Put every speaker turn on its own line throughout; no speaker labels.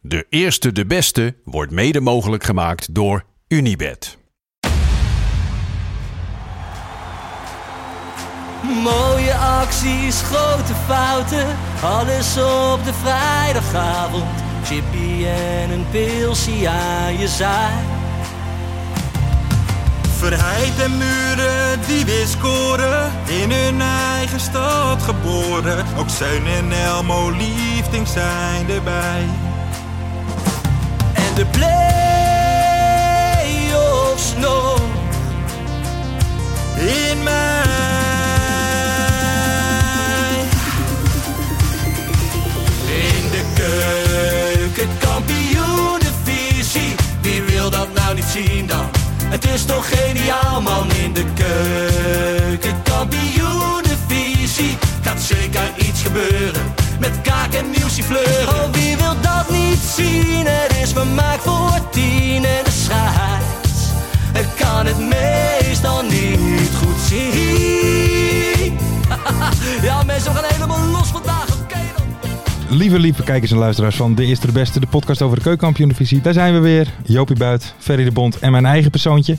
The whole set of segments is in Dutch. De eerste, de beste wordt mede mogelijk gemaakt door Unibed.
Mooie acties, grote fouten, alles op de vrijdagavond. Chippy en een pilsie aan je zaai.
Verheid en muren die weer scoren, in hun eigen stad geboren. Ook Zeun en Elmo liefding zijn erbij.
En de play-offs nog.
In mij.
In de keuken, kampioenenvisie. Wie wil dat nou niet zien dan? Het is toch geniaal man in de keuken, kampioenenvisie. Gaat zeker iets gebeuren met kaak en nieuwsie fleuren. Oh, wie wil dat niet zien? Het is vermaakt voor tien en de scheids. Ik kan het meestal niet goed zien. ja mensen, we gaan helemaal los vandaag, oké dan.
Lieve, lieve kijkers en luisteraars van De Eerste de Beste, de podcast over de keukenkampioen-divisie. Daar zijn we weer. Jopie Buit, Ferry de Bond en mijn eigen persoontje.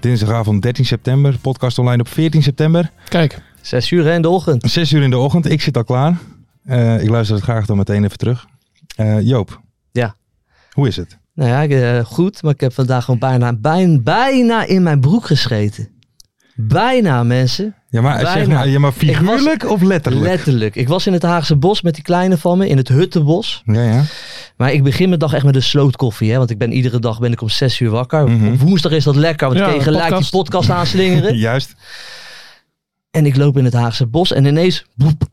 Dinsdagavond 13 september, podcast online op 14 september.
Kijk,
Zes uur hè, in de ochtend.
6 uur in de ochtend, ik zit al klaar. Eh, ik luister het graag dan meteen even terug. Eh, Joop.
Ja.
Hoe is het?
Nou ja, ik, eh, goed, maar ik heb vandaag gewoon bijna, bijna, bijna in mijn broek gescheten. Bijna, mensen.
Ja, maar zeg
Bijna.
nou, ja, maar
was-
figuurlijk of letterlijk?
Letterlijk. Ik was in het Haagse bos met die kleine van me, in het Huttenbos.
ja, ja.
Maar ik begin mijn dag echt met een slootkoffie, hè, want ik ben iedere dag ben ik om zes uur wakker.
Mhm.
Op woensdag is dat lekker, want
Ja,
ik kan je
de
gelijk
podcast.
die podcast aanslingeren.
Juist.
En ik loop in het Haagse bos en ineens, boep,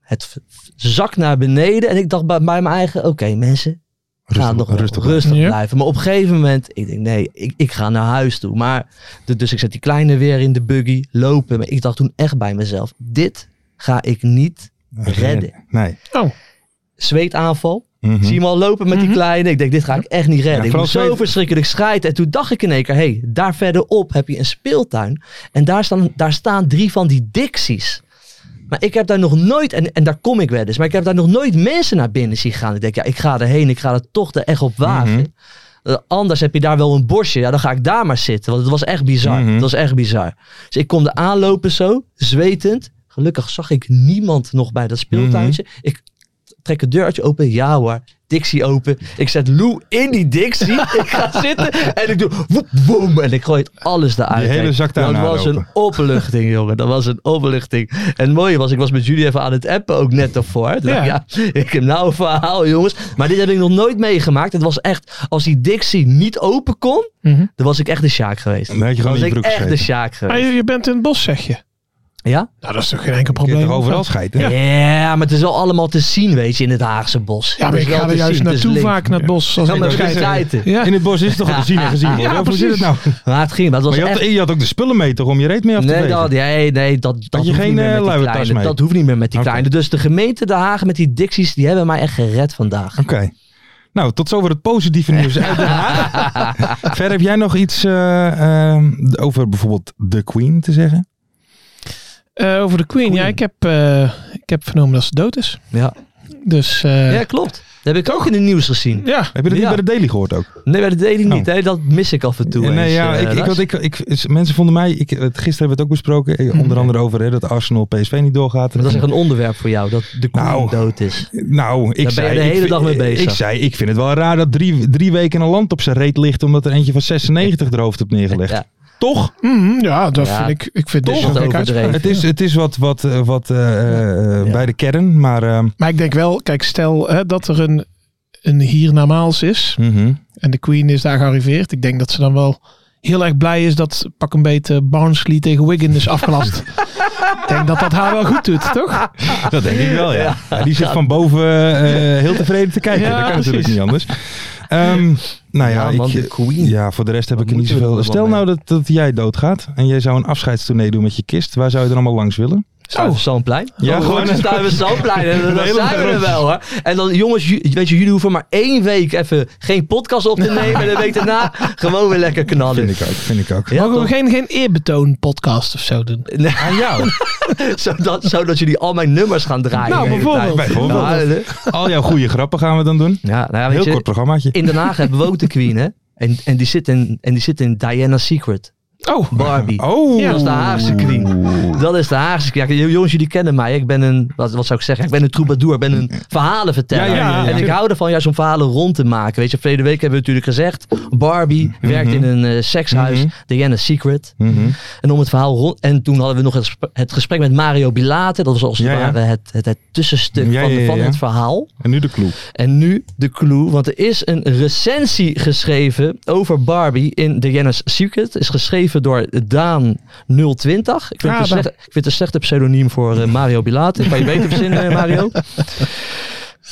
het v- v- zakt naar beneden. En ik dacht bij, bij mijn eigen, oké mensen,
Rustig,
ga nog wel
rustig
rustig,
blijven.
Ja.
blijven. Maar op een gegeven moment, ik denk nee, ik, ik ga naar huis toe. Maar de- dus ik zet die kleine weer in de buggy, lopen. Maar ik dacht toen echt bij mezelf, dit ga ik niet. Redden.
Nee.
Zweetaanval.
Mhm.
Zie hem al lopen met die kleine. Ik denk, dit ga ik echt niet redden.
Ja,
ik
vooral
moest zo
zweet-
verschrikkelijk schijten. En toen dacht ik in één keer, hé, hey, daar verderop heb je een speeltuin. En daar staan, daar staan drie van die Dixies. Maar ik heb daar nog nooit, en, en daar kom ik wel eens, maar ik heb daar nog nooit mensen naar binnen zien gaan. Ik denk, ja, ik ga erheen, ik ga er toch er echt op wagen.
Mhm.
Eh, anders heb je daar wel een bosje. Ja, dan ga ik daar maar zitten. Want het was echt bizar.
Mhm.
Het was echt bizar. Dus ik kom er aanlopen zo, zwetend. Gelukkig zag ik niemand nog bij dat speeltuintje.
Mhm.
Ik trek het deurtje open. Ja hoor, Dixie open. Ik zet Lou in die Dixie. ik ga zitten en ik doe woep, woem. En ik gooi het alles eruit.
Die hele
Kijk,
zak daarna
Dat was
lopen.
een opluchting, jongen. Dat was een opluchting. En het mooie was, ik was met jullie even aan het appen ook net daarvoor. Toen dacht ik,
Ja.
ja, ik heb nou een verhaal, jongens. Maar dit heb ik nog nooit meegemaakt. Het was echt, als die Dixie niet open kon,
Mhm.
dan was ik echt de Sjaak geweest.
Dan had je
Dan
gewoon
was
in je
ik
broek
echt de
gescheten.
Sjaak
maar
geweest.
je, je bent in het bos, zeg je.
Ja?
Nou, dat is toch geen enkel
Je
probleem?
hebt toch overal scheiden?
Ja. maar het is wel allemaal te zien, weet je, in het Haagse bos.
Ja, maar
Het
ik
is wel
ga er
te
juist
zien, het is
naartoe
link.
vaak naar het bos. Als
Ja,
ik
maar
naar
we gaan
scheiden.
scheiden.
Ja.
In het bos is het toch al te zien en gezien worden?
Ja,
Of Hoe zit het nou?
Maar het ging, maar het was
Maar je
echt...
had, je had ook de spullen mee toch om je reet mee af te
Nee,
wegen?
dat, nee, nee, dat, dat
je
hoeft
geen,
niet meer
eh,
met die
luiertas
kleine.
mee?
Dat hoeft niet meer met die
Oké.
kleine. Dus de gemeente Den Haag met die Dixies, die hebben mij echt gered vandaag.
Oké. Nou, tot zover het positieve nieuws uit Den Haag. Verder heb jij nog iets eh, eh, over bijvoorbeeld The Queen te zeggen?
Eh, over de Queen. Ja, ik heb, eh, ik heb vernomen dat ze dood is.
Ja,
Dus eh,
ja klopt. Dat heb ik ook in het nieuws gezien.
ja.
Heb je dat
Ja.
niet bij de Daily gehoord ook?
Nee, maar dat deed ik
Oh.
niet. Hè. Dat mis ik af en toe.
nee,
eens,
ja,
eh,
ik, ik,
Lars.
want ik, ik, is- mensen vonden mij, ik, het- gisteren hebben we het ook besproken, eh, onder andere over hè, dat Arsenal PSV niet doorgaat.
Maar Mhm. dat is echt een onderwerp voor jou, dat de koe
Nou.
dood is.
Nou, ik
ben
zei,
je de
ik
hele
vind- eh,
dag mee bezig.
Ik zei, ik vind het wel raar dat drie, drie weken een land op zijn reet ligt omdat er eentje van 96 er hoofd hebt neergelegd.
Ja.
Toch?
Mhm, ja, dat
Ja.
vind ik. Ik vind
Toch?
dit zo'n
Wat
gek
overdreven.
uitspraak.
Het is, het is wat, wat, eh, wat eh, eh,
Ja.
bij de kern, maar... ehm,
Maar ik denk wel, kijk, stel hè, dat er een, een hiernamaals is.
mhm.
En de Queen is daar gearriveerd. Ik denk dat ze dan wel heel erg blij is dat pak een beetje Barnsley tegen Wigan is afgelast. Ik denk dat dat haar wel goed doet, toch?
Dat denk ik wel, ja. Ja, die zit van boven eh, heel tevreden te kijken.
Ja,
dat kan natuurlijk
precies.
niet anders. Ehm, nou ja,
Ja, man, de
ik,
queen.
ja, voor de rest heb
Wat
ik er niet
moeten we
zoveel.
er
Stel
allemaal
nou dat, dat jij doodgaat en jij zou een afscheidstournee doen met je kist. Waar zou je dan allemaal langs willen? Oh,
Zandplein.
Ja,
Ja,
gewoon-
gewoon dan staan we Zandplein. En
Een
dan
hele
zijn we
grote-
er wel hoor. En dan jongens, ju- weet je, jullie hoeven maar één week even geen podcast op te nemen. En de week daarna gewoon weer lekker knallen.
Vind ik ook, vind ik ook.
Ja,
Mogen we
toch?
geen, geen eerbetoon podcast of zo doen?
Nee. zodat, zodat jullie al mijn nummers gaan draaien.
Nou,
de hele
bijvoorbeeld.
tijd.
Bijvoorbeeld.
Nou, eh,
Al jouw goede grappen gaan we dan doen.
ja, nou ja, weet
Heel
je,
kort programmaatje.
in Den Haag hebben we ook de Queen, hè? En, en, die zit in, en die zit in Diana's Secret.
Oh,
Barbie.
Oh,
Dat is de Haagse Queen. Dat is de Haagse Queen. Ja, jongens, jullie kennen mij. Ik ben een, wat, wat zou ik zeggen? Ik ben een troubadour. Ik ben een verhalenverteller.
Ja, ja, ja, ja.
En ik hou ervan juist om verhalen rond te maken. Weet je, verleden week hebben we natuurlijk gezegd. Barbie werkt in een eh, sekshuis. Diana's Secret.
Mhm.
En om het verhaal rond. En toen hadden we nog het, gesp- het gesprek met Mario Bilate. Dat was als het
Ja, ja.
ware het, het, het tussenstuk
Ja,
van,
ja, ja,
van
ja.
het verhaal.
En nu de clue.
En nu de clue, want er is een recensie geschreven over Barbie in The Janus Secret. Is geschreven door Daan020. Ik vind,
Ah,
het, een
Daan.
slechte, ik vind het een slechte pseudoniem voor eh, Mario Bilaat. Ik kan je beter verzinnen, eh, Mario.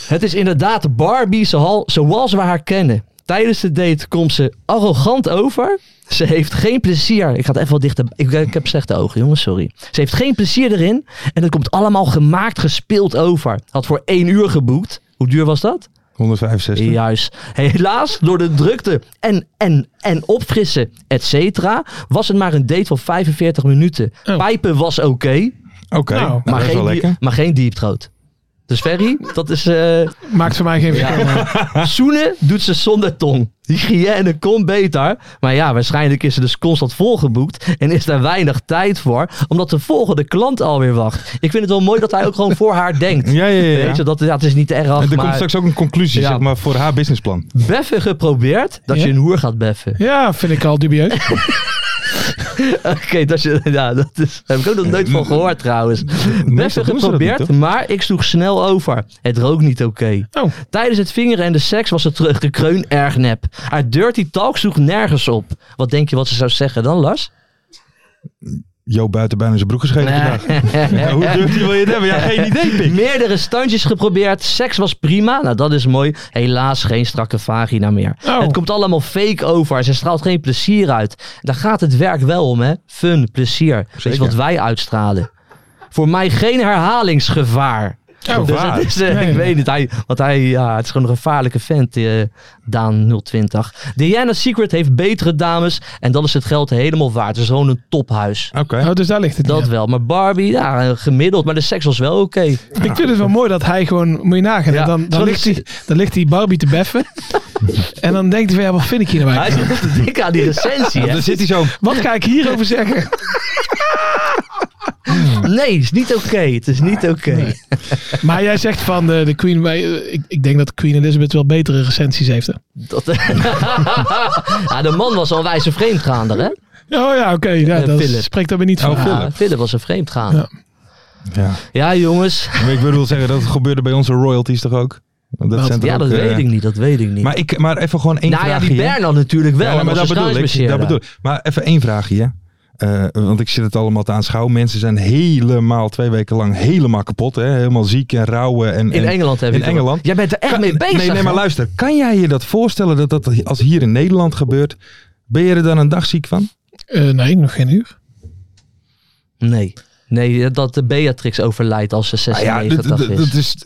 Het is inderdaad Barbie zoal- zoals we haar kennen. Tijdens de date komt ze arrogant over. Ze heeft geen plezier. Ik ga het even wat dichter. Ik, ik heb slechte ogen, jongens, sorry. Ze heeft geen plezier erin. En het komt allemaal gemaakt, gespeeld over. Had voor één uur geboekt. Hoe duur was dat?
165.
Juist. Helaas, door de drukte en, en, en opfrissen, et cetera, was het maar een date van 45 minuten.
Oh.
Pijpen was oké,
Oké,
Nou,
nou,
maar,
dat is
geen
wel
die-
lekker.
maar geen deep throat. Dus Ferry, dat is... eh,
maakt voor mij geen verschil.
ja. Zoenen doet ze zonder tong. Hygiëne komt beter. Maar ja, waarschijnlijk is ze dus constant volgeboekt. En is daar weinig tijd voor. Omdat de volgende klant alweer wacht. Ik vind het wel mooi dat hij ook gewoon voor haar denkt.
Ja, ja, ja. ja.
Weet je, dat, ja, het is niet erg.
en er
maar
komt straks ook een conclusie
Ja.
zeg maar, voor haar businessplan.
beffen geprobeerd dat
Ja.
je een hoer gaat beffen.
Ja, vind ik al dubieus.
Oké, dat je, ja, dat is, daar heb ik ook nog nooit van gehoord trouwens. Beffen
doen ze dat
geprobeerd,
niet, toch?
maar ik sloeg snel over. Het rook niet oké.
Oh,
Tijdens het vingeren en de seks was het terug- de kreun erg nep. Haar dirty talk sloeg nergens op. Wat denk je wat ze zou zeggen dan, Lars?
Jo buiten bijna zijn broek geschreven vandaag. nou? Ja, hoe durf wil je het hebben? Ja, geen idee, pik.
Meerdere standjes geprobeerd. Seks was prima. Nou, dat is mooi. Helaas geen strakke vagina meer.
Oh.
Het komt allemaal fake over. Ze straalt geen plezier uit. Daar gaat het werk wel om, hè? Fun, plezier. Dat is
Zeker.
wat wij uitstralen. Voor mij geen herhalingsgevaar.
Oh,
Dus het is, eh, ik weet het. Hij, want hij, ja, het is gewoon een gevaarlijke vent, eh, Daan 020. Diana's Secret heeft betere dames. En dat is het geld helemaal waard. Het is gewoon een tophuis.
Oké.
oh, dus daar ligt het.
Dat
Ja.
wel. Maar Barbie, ja, eh, gemiddeld. Maar de seks was wel oké.
Ik vind het wel mooi dat hij gewoon, moet je nagaan,
Ja,
dan, dan,
zo'n-
ligt hij, dan ligt die Barbie te beffen. en dan denkt hij van, ja, wat vind ik hier nou
Hij
eigenlijk?
zit echt te denken aan die recensie,
Dan
hè?
zit hij zo.
Wat ga ik hierover zeggen?
Nee, het is niet oké. Het is niet oké.
Maar jij zegt van eh, de, de Queen, wij- ik, ik denk dat Queen Elizabeth wel betere recensies heeft. Hè?
Dat, ja, de man was al een wijze vreemdgaander, hè?
Oh ja, oké, ja,
Eh,
dat
Philip.
spreekt daar weer niet van.
Oh, Philip.
Ja, Philip was een vreemdgaander.
Ja.
Ja, jongens.
Maar ik bedoel zeggen, dat gebeurde bij onze royalties toch ook? Want Dat zijn toch
Ja,
ook,
dat
eh,
weet ik niet. Dat weet ik niet.
Maar, ik, maar even gewoon één
nou ja,
vraagje.
die
hè?
Bernal natuurlijk wel.
Ja, maar
want
dat
ze
bedoel ik.
schuisbeseerder.
Dat bedoel ik. Maar even één vraagje, hè. Eh, want ik zit het allemaal te aanschouwen. Mensen zijn helemaal twee weken lang helemaal kapot. Hè? Helemaal ziek en rauw. En,
In
en-
Engeland heb
In
je het
Engeland?
over. Jij bent er echt
Kan-
mee bezig.
Nee, nee, maar
hè?
luister. Kan jij je dat voorstellen dat dat als hier in Nederland gebeurt? Ben je er dan een dag ziek van?
Eh, nee, nog geen uur.
Nee. Nee, dat de Beatrix overlijdt als ze
Nou ja, dat,
96
dat,
is.
dat is, dat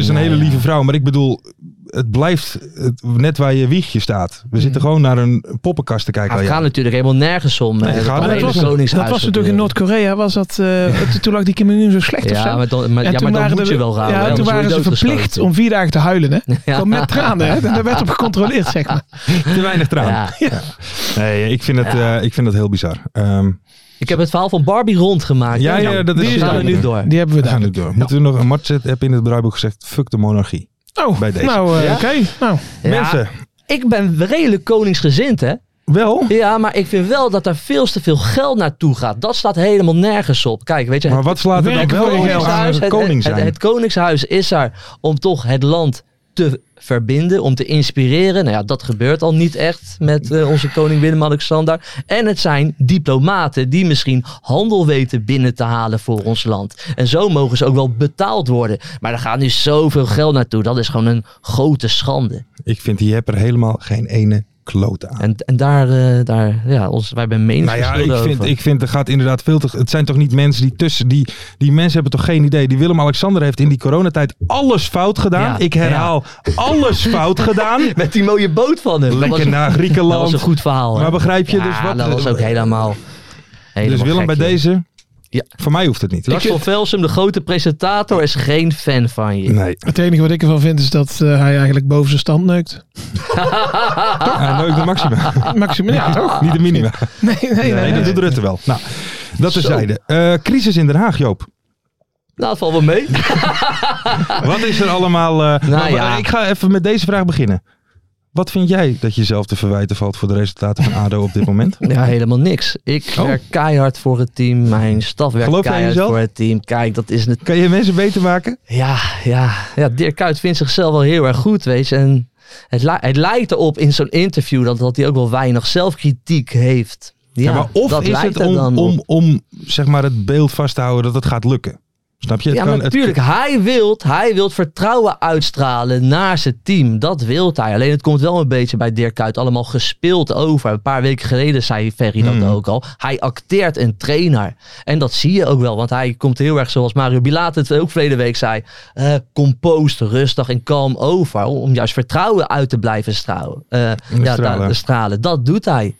is een
Nou
hele
ja.
lieve vrouw. Maar ik bedoel, het blijft het- net waar je wiegje staat.
Mm.
We zitten gewoon naar een poppenkast te
Maar
kijken. Oh
het
al
gaat natuurlijk helemaal nergens om.
Nee,
eh,
het
dat
gaat
kan
om-
in
dat
het
was,
Koningshuis
dat was natuurlijk in
gebeuren.
Noord-Korea. Was dat, eh, toen lag die Kim Jong-un zo slecht of zo.
Ja, maar dan, maar,
En
ja, maar dan
toen waren
moet
de-
je wel raden. hè,
Ja, toen
anders
waren ze
word je
verplicht
doodgeschoten.
om vier dagen te huilen. Hè?
Ja.
Gewoon met tranen. Hè? Daar werd op gecontroleerd, zeg maar.
gaat te weinig traan.
Ja.
Nee, ik vind, het, eh, ik vind het heel bizar. Ehm,
Ik heb het verhaal van Barbie rondgemaakt.
ja, ja, dat is
we gaan er nu door.
Die hebben we
We
daar.
gaan nu door. Moeten we nog een matchet heb in het bruiboek gezegd? Fuck de monarchie.
Oh,
bij deze.
nou, eh,
Ja?
oké. Nou,
Ja,
Mensen,
Ik ben redelijk koningsgezind, hè?
wel.
Ja, maar ik vind wel dat daar veel te veel geld naartoe gaat. Dat staat helemaal nergens op. Kijk, weet je,
Maar wat slaat er dan
Werken
wel
voor je
om
geld.
aan
Koningshuis,
het
het,
koning
het,
zijn?
het Koningshuis is er om toch het land te verbinden, om te inspireren. Nou ja, dat gebeurt al niet echt met eh, onze koning Willem-Alexander. En het zijn diplomaten die misschien handel weten binnen te halen voor ons land. En zo mogen ze ook wel betaald worden. Maar er gaat nu zoveel geld naartoe. Dat is gewoon een grote schande.
Ik vind die heb er helemaal geen ene klote aan.
En, en daar, eh, daar ja, ons, wij hebben mening
Nou ja, ik vind, ik vind er gaat inderdaad veel te. Het zijn toch niet mensen die tussen. Die, die mensen hebben toch geen idee. Die Willem-Alexander heeft in die coronatijd alles fout gedaan.
Ja,
ik herhaal, alles fout gedaan.
Met die mooie boot van hem. dat was,
Lekker
een-
naar
dat
Griekenland.
was een goed verhaal. hè?
Maar begrijp je
ja,
dus wat.
dat was ook helemaal...
dus
helemaal
Willem, bij
gek, joh.
deze.
Ja.
Voor mij hoeft het niet.
Lars van Velsum, de grote presentator, is geen fan van je.
Nee.
Het enige wat ik ervan vind is dat eh, hij eigenlijk boven zijn stand neukt.
Ah, leuk, de maxima.
Maximaal, ja, toch?
niet de minima.
Nee, nee, nee.
Nee, dat doet Rutte wel. Nou, dat
Zo.
terzijde. Eh crisis in Den Haag, Joop.
Nou, het valt wel mee.
Wat is er allemaal... eh,
Nou
maar-
ja.
Ik ga even met deze vraag beginnen. Wat vind jij dat jezelf te verwijten valt voor de resultaten van ADO op dit moment?
Ja, helemaal niks. Ik
Oh.
werk keihard voor het team. Mijn staf werkt
Geloof jij in
keihard
jezelf?
voor het team. Kijk, dat is het.
Kan je mensen beter maken?
Ja, ja, ja. Dirk Kuyt vindt zichzelf wel heel erg goed, wees. En het, li- het lijkt erop in zo'n interview dat, dat hij ook wel weinig zelfkritiek heeft. Ja,
maar of
dat
is
lijkt
het
er
om,
dan op.
om, om zeg maar het beeld vast te houden dat het gaat lukken? Snap je? Het
Ja,
kan-
maar
het-
natuurlijk. Hij wilt, hij wilt vertrouwen uitstralen naar zijn team. Dat wilt hij. Alleen het komt wel een beetje bij Dirk Kuyt allemaal gespeeld over. Een paar weken geleden zei Ferry
Hmm.
dat ook al. Hij acteert een trainer. En dat zie je ook wel. Want hij komt heel erg, zoals Mario Bilaat het ook verleden week zei... eh composed, rustig en kalm over. Om, om juist vertrouwen uit te blijven stralen. Eh, ja,
stralen.
daar- stralen. Dat doet hij.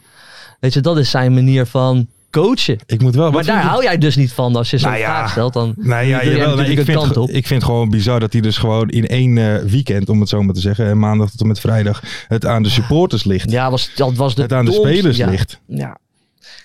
Weet je, dat is zijn manier van coachen.
ik moet wel... wat
Maar daar
vind je-
hou jij dus niet van als je zo'n
Nou ja.
vraag stelt. Dan
Nee, ja,
doe
jawel,
jij
nee,
natuurlijk
ik,
een
vind,
kant op.
ge- ik vind gewoon bizar dat hij dus gewoon in één eh, weekend, om het zo maar te zeggen, eh, maandag tot en met vrijdag, het aan de supporters ligt.
Ja, was, dat was de
het aan de
domste-
spelers
ja.
ligt.
Ja.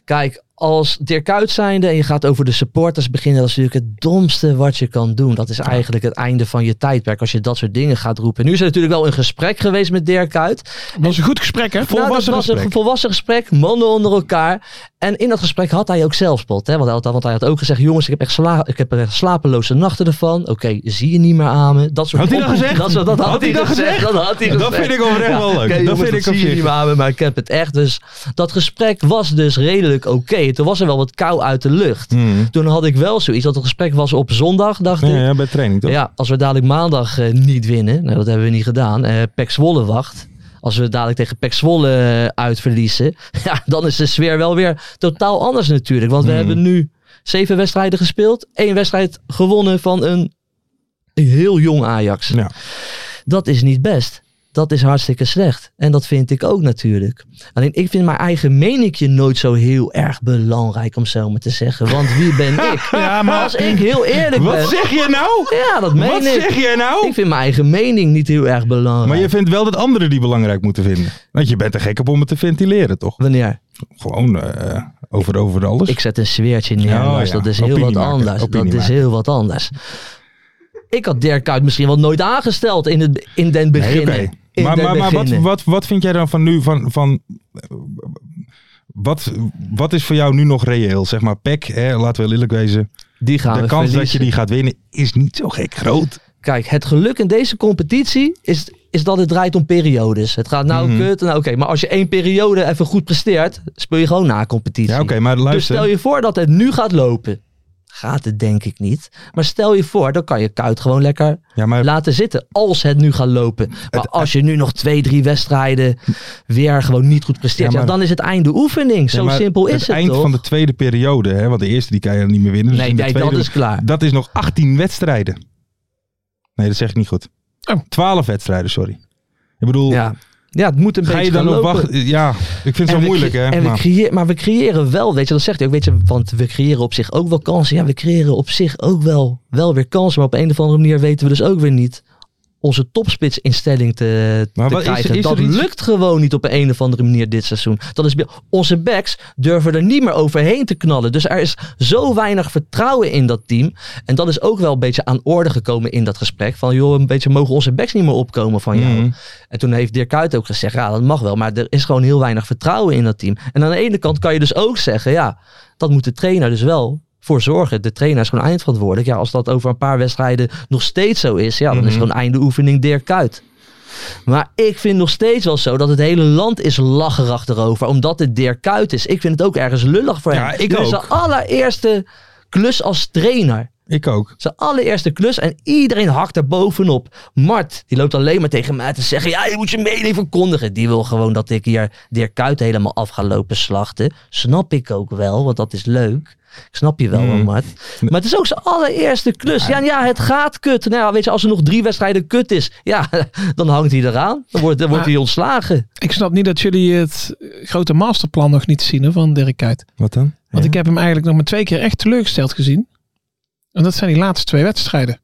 Kijk, als Dirk Kuyt zijnde en je gaat over de supporters beginnen, dat is natuurlijk het domste wat je kan doen. Dat is eigenlijk het einde van je tijdperk als je dat soort dingen gaat roepen. Nu is er natuurlijk wel een gesprek geweest met Dirk Kuyt.
was een goed gesprek, hè?
Nou, dat
Volwassen
was een
gesprek.
volwassen gesprek, mannen onder elkaar. En in dat gesprek had hij ook zelfspot. Hè? Want, hij had, want hij had ook gezegd, jongens, ik heb echt, sla ik heb echt slapeloze nachten ervan. Oké, zie je niet meer aan me. Dat soort
Had hij dat gezegd?
Dat, soort- dat had,
Had
hij dat gezegd? Dat had hij gezegd.
Dat vind ik oprecht wel leuk.
oké,
Dat
jongens,
vind ik op
zie je
zich.
niet meer aan me, maar ik heb het echt. Dus dat gesprek was dus redelijk oké. Toen was er wel wat kou uit de lucht.
Hmm.
Toen had ik wel zoiets. Dat het gesprek was op zondag, dacht
Ja,
ik.
ja, bij training toch?
Ja, als we dadelijk maandag eh, niet winnen, nou, dat hebben we niet gedaan. Eh Pek Zwolle wacht. Als we dadelijk tegen Pek Zwolle eh, uitverliezen, ja, dan is de sfeer wel weer totaal anders natuurlijk. Want we
Hmm.
hebben nu zeven wedstrijden gespeeld, één wedstrijd gewonnen van een heel jong Ajax.
Ja.
Dat is niet best. Dat is hartstikke slecht. En dat vind ik ook natuurlijk. Alleen ik vind mijn eigen meningje nooit zo heel erg belangrijk om zo maar te zeggen. Want wie ben ik? Als ik heel eerlijk ben.
Wat zeg je nou?
Ja, dat meen
Wat
ik.
zeg jij nou?
Ik vind mijn eigen mening niet heel erg belangrijk.
Maar je vindt wel dat anderen die belangrijk moeten vinden. Want je bent te gek op om het te ventileren, toch?
Wanneer?
Gewoon eh, over, over alles.
Ik zet een sfeertje neer,
Ja, Oh,
Lars.
ja.
Dat is heel
Opinie
wat
maken,
anders.
opinie
dat is
maken.
heel wat anders. Ik had Dirk Kuyt misschien wel nooit aangesteld in, het, in den
Nee,
beginnen.
oké.
In
Maar,
den
maar, maar wat,
beginnen.
wat, wat vind jij dan van nu? Van, van, eh, wat, wat is voor jou nu nog reëel? Zeg maar, PEC, hè, laten we wel eerlijk wezen.
Die gaan
de
Nou, we
kans dat je
verliezen.
die gaat winnen is niet zo gek groot.
Kijk, het geluk in deze competitie is, is dat het draait om periodes. Het gaat nou
Mhm.
kut. Nou, oké, maar als je één periode even goed presteert, speel je gewoon na competitie.
Ja, oké, maar
Dus
luister.
stel je voor dat het nu gaat lopen. Gaat het denk ik niet. Maar stel je voor, dan kan je Kuit gewoon lekker
ja, maar
laten zitten. Als het nu gaat lopen. Maar als je nu nog twee, drie wedstrijden weer gewoon niet goed presteert.
Ja,
Ja,
maar-
dan is het einde oefening.
Ja,
Zo
maar
simpel is het,
eind
toch?
van de tweede periode, hè, want de eerste die kan je niet meer winnen. Dus
nee,
in de
nee,
tweede,
dat is klaar.
dat is nog 18 wedstrijden. Nee, dat zeg ik niet goed.
Oh.
12 wedstrijden, sorry. Ik bedoel,
Ja. ja, het moet een
ga
beetje
je dan
gaan
op
lopen.
wachten? Ja, ik vind het zo
we
moeilijk,
cre-
hè.
En we
maar-
creëren, maar we creëren wel, weet je, dat zegt hij ook, weet je, want we creëren op zich ook wel kansen. Ja, we creëren op zich ook wel, wel weer kansen, maar op een of andere manier weten we dus ook weer niet onze topspitsinstelling te,
Maar
te
wat is-
krijgen.
is er
dat
iets-
lukt gewoon niet op een of andere manier dit seizoen. Dat is, onze backs durven er niet meer overheen te knallen. Dus er is zo weinig vertrouwen in dat team. En dat is ook wel een beetje aan orde gekomen in dat gesprek. Van joh, een beetje mogen onze backs niet meer opkomen van jou.
Mhm.
En toen heeft Dirk Kuyt ook gezegd, ja, dat mag wel, maar er is gewoon heel weinig vertrouwen in dat team. En aan de ene kant kan je dus ook zeggen, ja, dat moet de trainer dus wel voor zorgen. De trainer is gewoon
Mhm.
eindverantwoordelijk. Ja, als dat over een paar wedstrijden nog steeds zo is, ja, dan is het gewoon einde oefening Dirk Kuyt. Maar ik vind nog steeds wel zo dat het hele land is lacherig erover. Omdat het Dirk Kuyt is. Ik vind het ook ergens lullig voor hem.
Ja, ik
Dit is
ook.
zijn allereerste klus als trainer.
Ik ook.
Zijn allereerste klus en iedereen hakt er bovenop. Mart, die loopt alleen maar tegen mij te zeggen... ja, je moet je mening verkondigen. Die wil gewoon dat ik hier Dirk Kuyt helemaal af ga lopen slachten. Snap ik ook wel, want dat is leuk. Ik snap je wel, hoor, Mart. Maar het is ook zijn allereerste klus. Mm. Ja, ja, het gaat kut. Nou ja, weet je, als er nog drie wedstrijden kut is... ja, dan hangt hij eraan. Dan wordt, dan wordt
Maar-
hij ontslagen.
Ik snap niet dat jullie het grote masterplan nog niet zien hè, van Dirk Kuyt.
Wat dan?
Want ik heb hem eigenlijk nog maar twee keer echt teleurgesteld gezien. En dat zijn die laatste twee wedstrijden.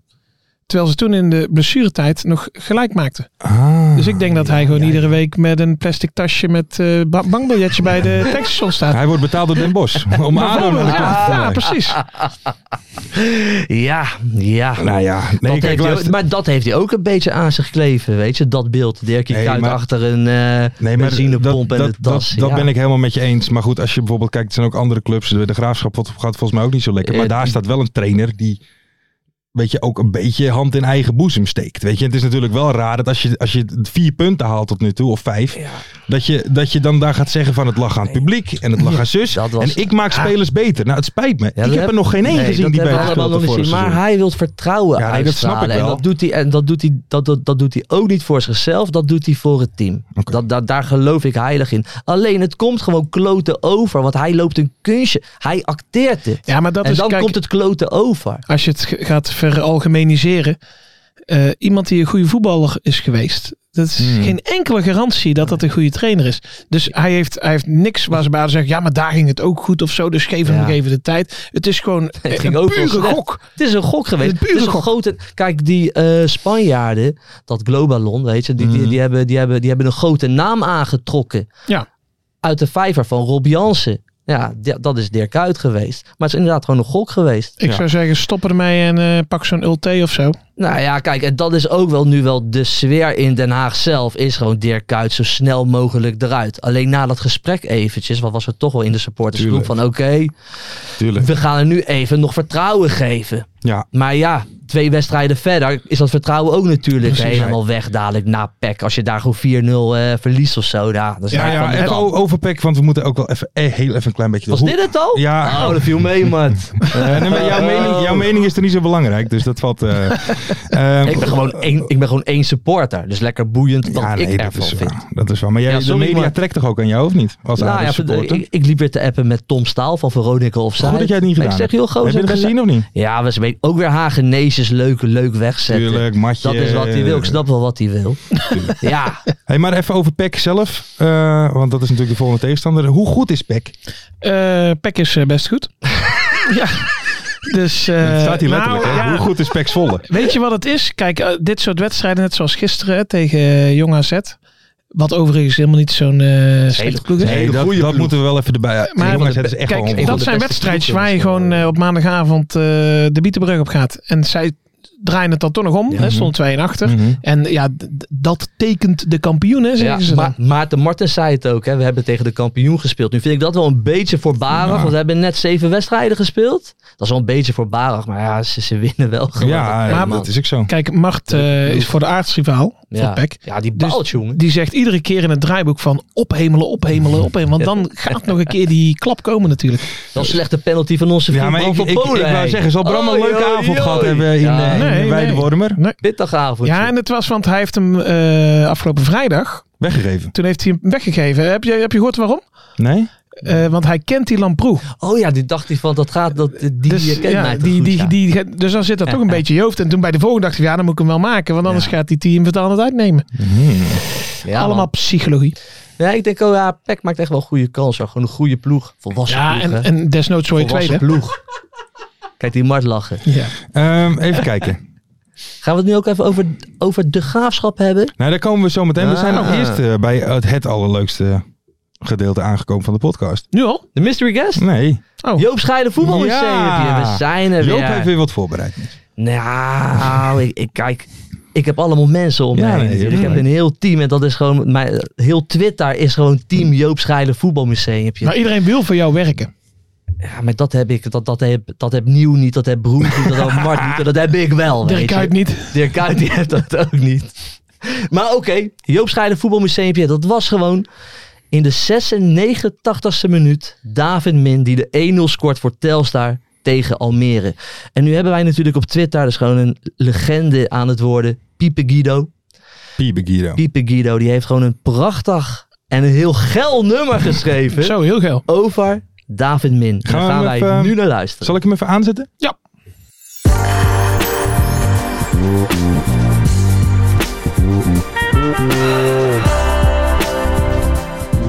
Terwijl ze toen in de blessuretijd nog gelijk maakten.
Ah.
Dus ik denk dat hij gewoon iedere week met een plastic tasje met eh, ba- bankbiljetje bij de tankstation staat.
Hij wordt betaald door Den Bosch. Om Aaron naar de klant
Ja,
te
ja,
brengen.
precies.
Ja, ja.
Nou ja, nee,
dat
kijk,
heeft hij
luister-
ook- maar dat heeft hij ook een beetje aan zich gekleven, weet je? Dat beeld, Dirkie
Nee,
nee,
maar-
achter een eh
Nee, maar
benzinepomp en
dat,
de tas.
Dat, dat
ja.
ben ik helemaal met je eens. Maar goed, als je bijvoorbeeld kijkt, er zijn ook andere clubs. De, de Graafschap gaat volgens mij ook niet zo lekker. Maar
Eh,
daar staat wel een trainer die, weet je, ook een beetje hand in eigen boezem steekt. Weet je, het is natuurlijk wel raar dat als je, als je vier punten haalt tot nu toe, of vijf, dat, je, dat je dan daar gaat zeggen van het lag aan het publiek en het lag aan zus.
dat was- Ah.
en ik maak spelers beter. Nou, het spijt me.
Ja,
ik
dat
heb er nog geen één
nee,
gezien
dat
die
hebben we
beter
allemaal
speelde
nog
vorig
gezien.
seizoen.
Maar hij wil vertrouwen
Ja, nee, dat snap
uitstralen.
ik wel.
En, dat doet hij, en dat, doet hij, dat, dat, dat doet hij ook niet voor zichzelf, dat doet hij voor het team.
Oké.
Dat, dat, daar geloof ik heilig in. Alleen het komt gewoon kloten over, want hij loopt een kunstje. Hij acteert het.
Ja, maar dat
en
is...
dan
kijk,
komt het kloten over.
als je het ge- gaat veralgemeniseren. eh, iemand die een goede voetballer is geweest. Dat is
Hmm.
geen enkele garantie dat dat een goede trainer is. Dus hij heeft, hij heeft niks waar ze bij zeggen. Ja, maar daar ging het ook goed of zo. Dus geef hem
Ja.
nog even de tijd. Het is gewoon
Het
een
ging overal
pure
snel.
gok.
Het is een gok geweest.
Het
Het
is
is
een
een
gok.
grote. Kijk, die eh, Spanjaarden, dat Globalon, weet je, die, die,
Mhm.
die, hebben, die, hebben, die hebben een grote naam aangetrokken.
Ja.
Uit de vijver van Rob Jansen. Ja, di- dat is Dirk Kuyt geweest. Maar het is inderdaad gewoon een gok geweest.
Ik
Ja.
zou zeggen, stop ermee en eh, pak zo'n ulté of zo.
Nou ja, kijk, en dat is ook wel nu wel de sfeer in Den Haag zelf. Is gewoon Dirk Kuyt zo snel mogelijk eruit. Alleen na dat gesprek eventjes, wat was er toch wel in de supportersgroep van oké,
Tuurlijk.
we gaan er nu even nog vertrouwen geven.
Ja,
Maar ja, twee wedstrijden verder is dat vertrouwen ook natuurlijk
Precies,
helemaal weg dadelijk na PEC. Als je daar gewoon 4-0 eh, verliest of zo. Ja, dat is
ja,
daar
ja,
van de
even
kant.
o- overpack, want we moeten ook wel even eh, heel even een klein beetje de
Was
hoek-
dit het al?
Ja.
Oh, dat viel mee, man.
Eh, nee, maar jouw,
Oh.
mening, jouw mening is er niet zo belangrijk, dus dat valt. eh, ehm,
ik, ben gewoon één, ik ben gewoon één supporter. Dus lekker boeiend dat
ja, nee,
ik
dat
ervan
is
vind.
waar. Dat is waar. Maar jij,
Ja, sorry,
de media
maar-
trekt toch ook aan jou, of niet? Als
Nou ja,
supporter.
ik, ik liep weer te appen met Tom Staal van Veronica of
Goed dat jij het niet gedaan
Ik zeg,
hebt.
heel gozer.
Heb je het
ik ben-
gezien of niet?
Ja, we zijn ook weer Hagenees leuk, leuk wegzetten.
Tuurlijk, matje.
Dat is wat hij wil. Ik snap wel wat hij wil. ja,
Hey, maar even over PEC zelf, eh, want dat is natuurlijk de volgende tegenstander. Hoe goed is PEC?
Eh Pek is eh, best goed. ja. Dus, eh,
Het staat hier letterlijk.
nou,
hè?
ja.
Hoe goed is PEC Zwolle?
Weet je wat het is? Kijk, eh, dit soort wedstrijden, net zoals gisteren hè, tegen eh, Jong AZ. Wat overigens helemaal niet zo'n eh slechte ploeg is.
Nee, dat, dat moeten we wel even erbij.
Maar-
Maar, jongens, het is echt
Kijk,
wel
van
dat
de
ongelooflijk.
zijn
beste
wedstrijdjes
ploegen
waar
dus,
je
is dat
gewoon
wel.
eh, op maandagavond eh, de Bietenbrug op gaat. En zij draaien het dan toch nog om. hè, stond 2 en achter.
Mhm.
En ja, d- d- dat tekent de kampioen, hè, zeggen
Ja,
ze
maar
dan.
Maarten Martens zei het ook. Hè. We hebben tegen de kampioen gespeeld. Nu vind ik dat wel een beetje voorbarig. Want we hebben net zeven wedstrijden gespeeld. Dat is wel een beetje voorbarig. Maar ja, ze, ze winnen wel gewoon.
Ja,
Maar-
dat is ook zo.
Kijk, Mart eh, is voor de aardsrivaal
ja.
van PEC.
Ja, die
Dus
baalt, jongen.
die zegt iedere keer in het draaiboek van ophemelen, ophemelen, ophemelen. Want dan gaat nog een keer die klap komen natuurlijk.
Dat is een slechte penalty van onze vriend
Ja, maar ik,
van
ik, ik,
Polen.
wou
heen.
zeggen, zal Bram een
Oei,
leuke
oei,
avond gehad
oei.
hebben in,
Ja,
eh,
Nee,
in
nee.
Weidewormer?
pittig avondje.
Ja, en het was, want hij heeft hem eh, afgelopen vrijdag,
Weggegeven.
toen heeft hij hem weggegeven. Heb je, heb je gehoord waarom?
Nee?
Eh, want hij kent die Lamproe.
Oh ja, die dacht hij van, dat gaat, dat, die
Dus,
eh, kent
ja,
mij toch
die,
goed,
die,
ja.
die, dus dan zit dat toch een beetje in je hoofd. En toen bij de volgende dacht ik, ja, dan moet ik hem wel maken. Want anders gaat die team het aan het uitnemen.
Ja, man.
Allemaal psychologie.
Ja, ik denk, oh ja, Peck maakt echt wel een goede kans. hoor. Gewoon een goede ploeg. Volwassen
Ja,
ploeg,
en,
hè.
en desnoods voor je
Volwassen
tweede.
ploeg. Kijk die Mart lachen.
Ja.
Ehm, even kijken.
Gaan we het nu ook even over, over de graafschap hebben?
Nou, daar komen we zo meteen. We zijn nog
Ah.
eerst eh, bij het, het allerleukste gedeelte aangekomen van de podcast.
Nu al?
De mystery guest?
Nee.
Oh.
Joop Scheide voetbal
Ja.
heb je. We zijn er
Joop
weer.
heeft weer wat voorbereid.
Nou, ik, ik- kijk, ik heb allemaal mensen om
Ja,
mij. heen
nee,
natuurlijk. ik
tuurlijk.
heb een heel team en dat is gewoon, mijn, heel Twitter is gewoon team Joop Scheide voetbalmuseum.
Maar Nou, iedereen wil voor jou werken.
Ja, maar dat heb ik, dat, dat heb, dat heb Nieuw niet, dat heb Broer niet, dat heb Mart niet, dat heb ik wel. weet
Dirk
je.
Kuyt niet.
Dirk Kuyt die heeft dat ook niet. Maar oké, Joop Schijder voetbalmuseumpje, dat was gewoon in de 96e minuut David Min die de 1-0 scoort voor Telstar tegen Almere. En nu hebben wij natuurlijk op Twitter, dat is gewoon een legende aan het worden, Piepe Guido.
Piebe Guido.
Piepe Guido, die heeft gewoon een prachtig en een heel geil nummer geschreven
Zo, heel geil.
over David Min. Daar
Gaan we
gaan wij
hem even-
nu naar luisteren.
Zal ik hem even aanzetten?
Ja.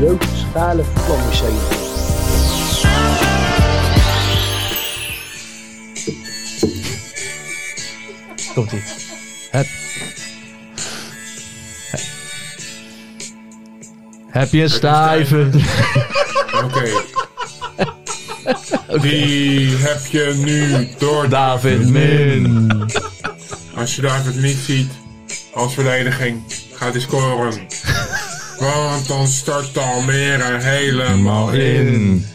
Joop Schalen Voetbalmuseum.
Komt ie. Heb. Heb je een stijve?
Oké. Die heb je nu door
David Min.
Als je David niet ziet als verdediging, gaat hij scoren. Want dan start Almere helemaal in.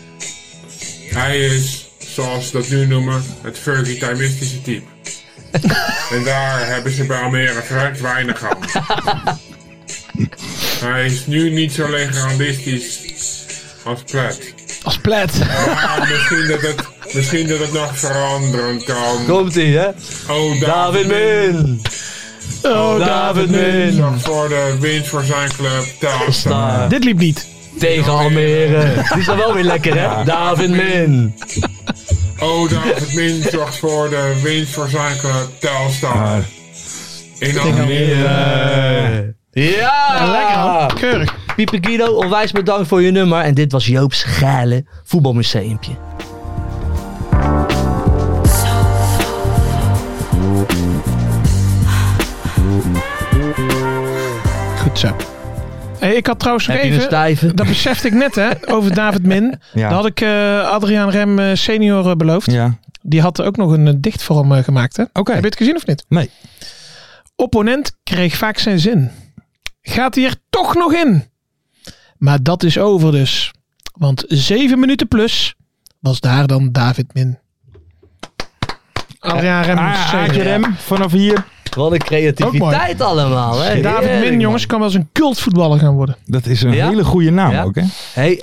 Hij is, zoals ze dat nu noemen, het Fergie Timistische type. en daar hebben ze bij Almere vrij weinig aan. Hij is nu niet zo legendistisch als Plet.
Als plet.
Maar misschien dat het, misschien dat het nog veranderen kan.
Komt ie, hè?
Oh,
David Min. Oh, David Min.
Zorg voor de winst voor zijn club. Telstar.
Ah,
Dit liep niet.
Tegen Almere. Die is dan wel weer lekker, hè? David Min.
Oh, David Min zorgt voor de winst voor zijn club. Telstar. In Almere.
Ja!
Lekker, man. Keurig.
Pieper Guido, onwijs bedankt voor je nummer. En dit was Joop's geile voetbalmuseumpje.
Goed zo. Hey, ik had trouwens nog
Heb je een
even...
stijve?
Dat besefte ik net, hè, over David Min.
dus Ja.
Dat had ik eh, Adriaan Rem eh, senior eh, beloofd.
Ja.
Die had ook nog een eh, dichtvorm eh, gemaakt, hè?
Oké.
Heb je het gezien of niet?
Nee.
Opponent kreeg vaak zijn zin. Gaat hij er toch nog in? Maar dat is over dus. Want zeven minuten plus was daar dan David Min. Adriaan Rem.
Ah, Aadje
senior.
Rem, vanaf hier.
Wat een creativiteit allemaal, hè?
David
Heerlijk,
Min,
man.
jongens, kan wel eens een cultvoetballer gaan worden.
Dat is een
Ja?
hele goede naam
Ja.
ook, hè?
Hey,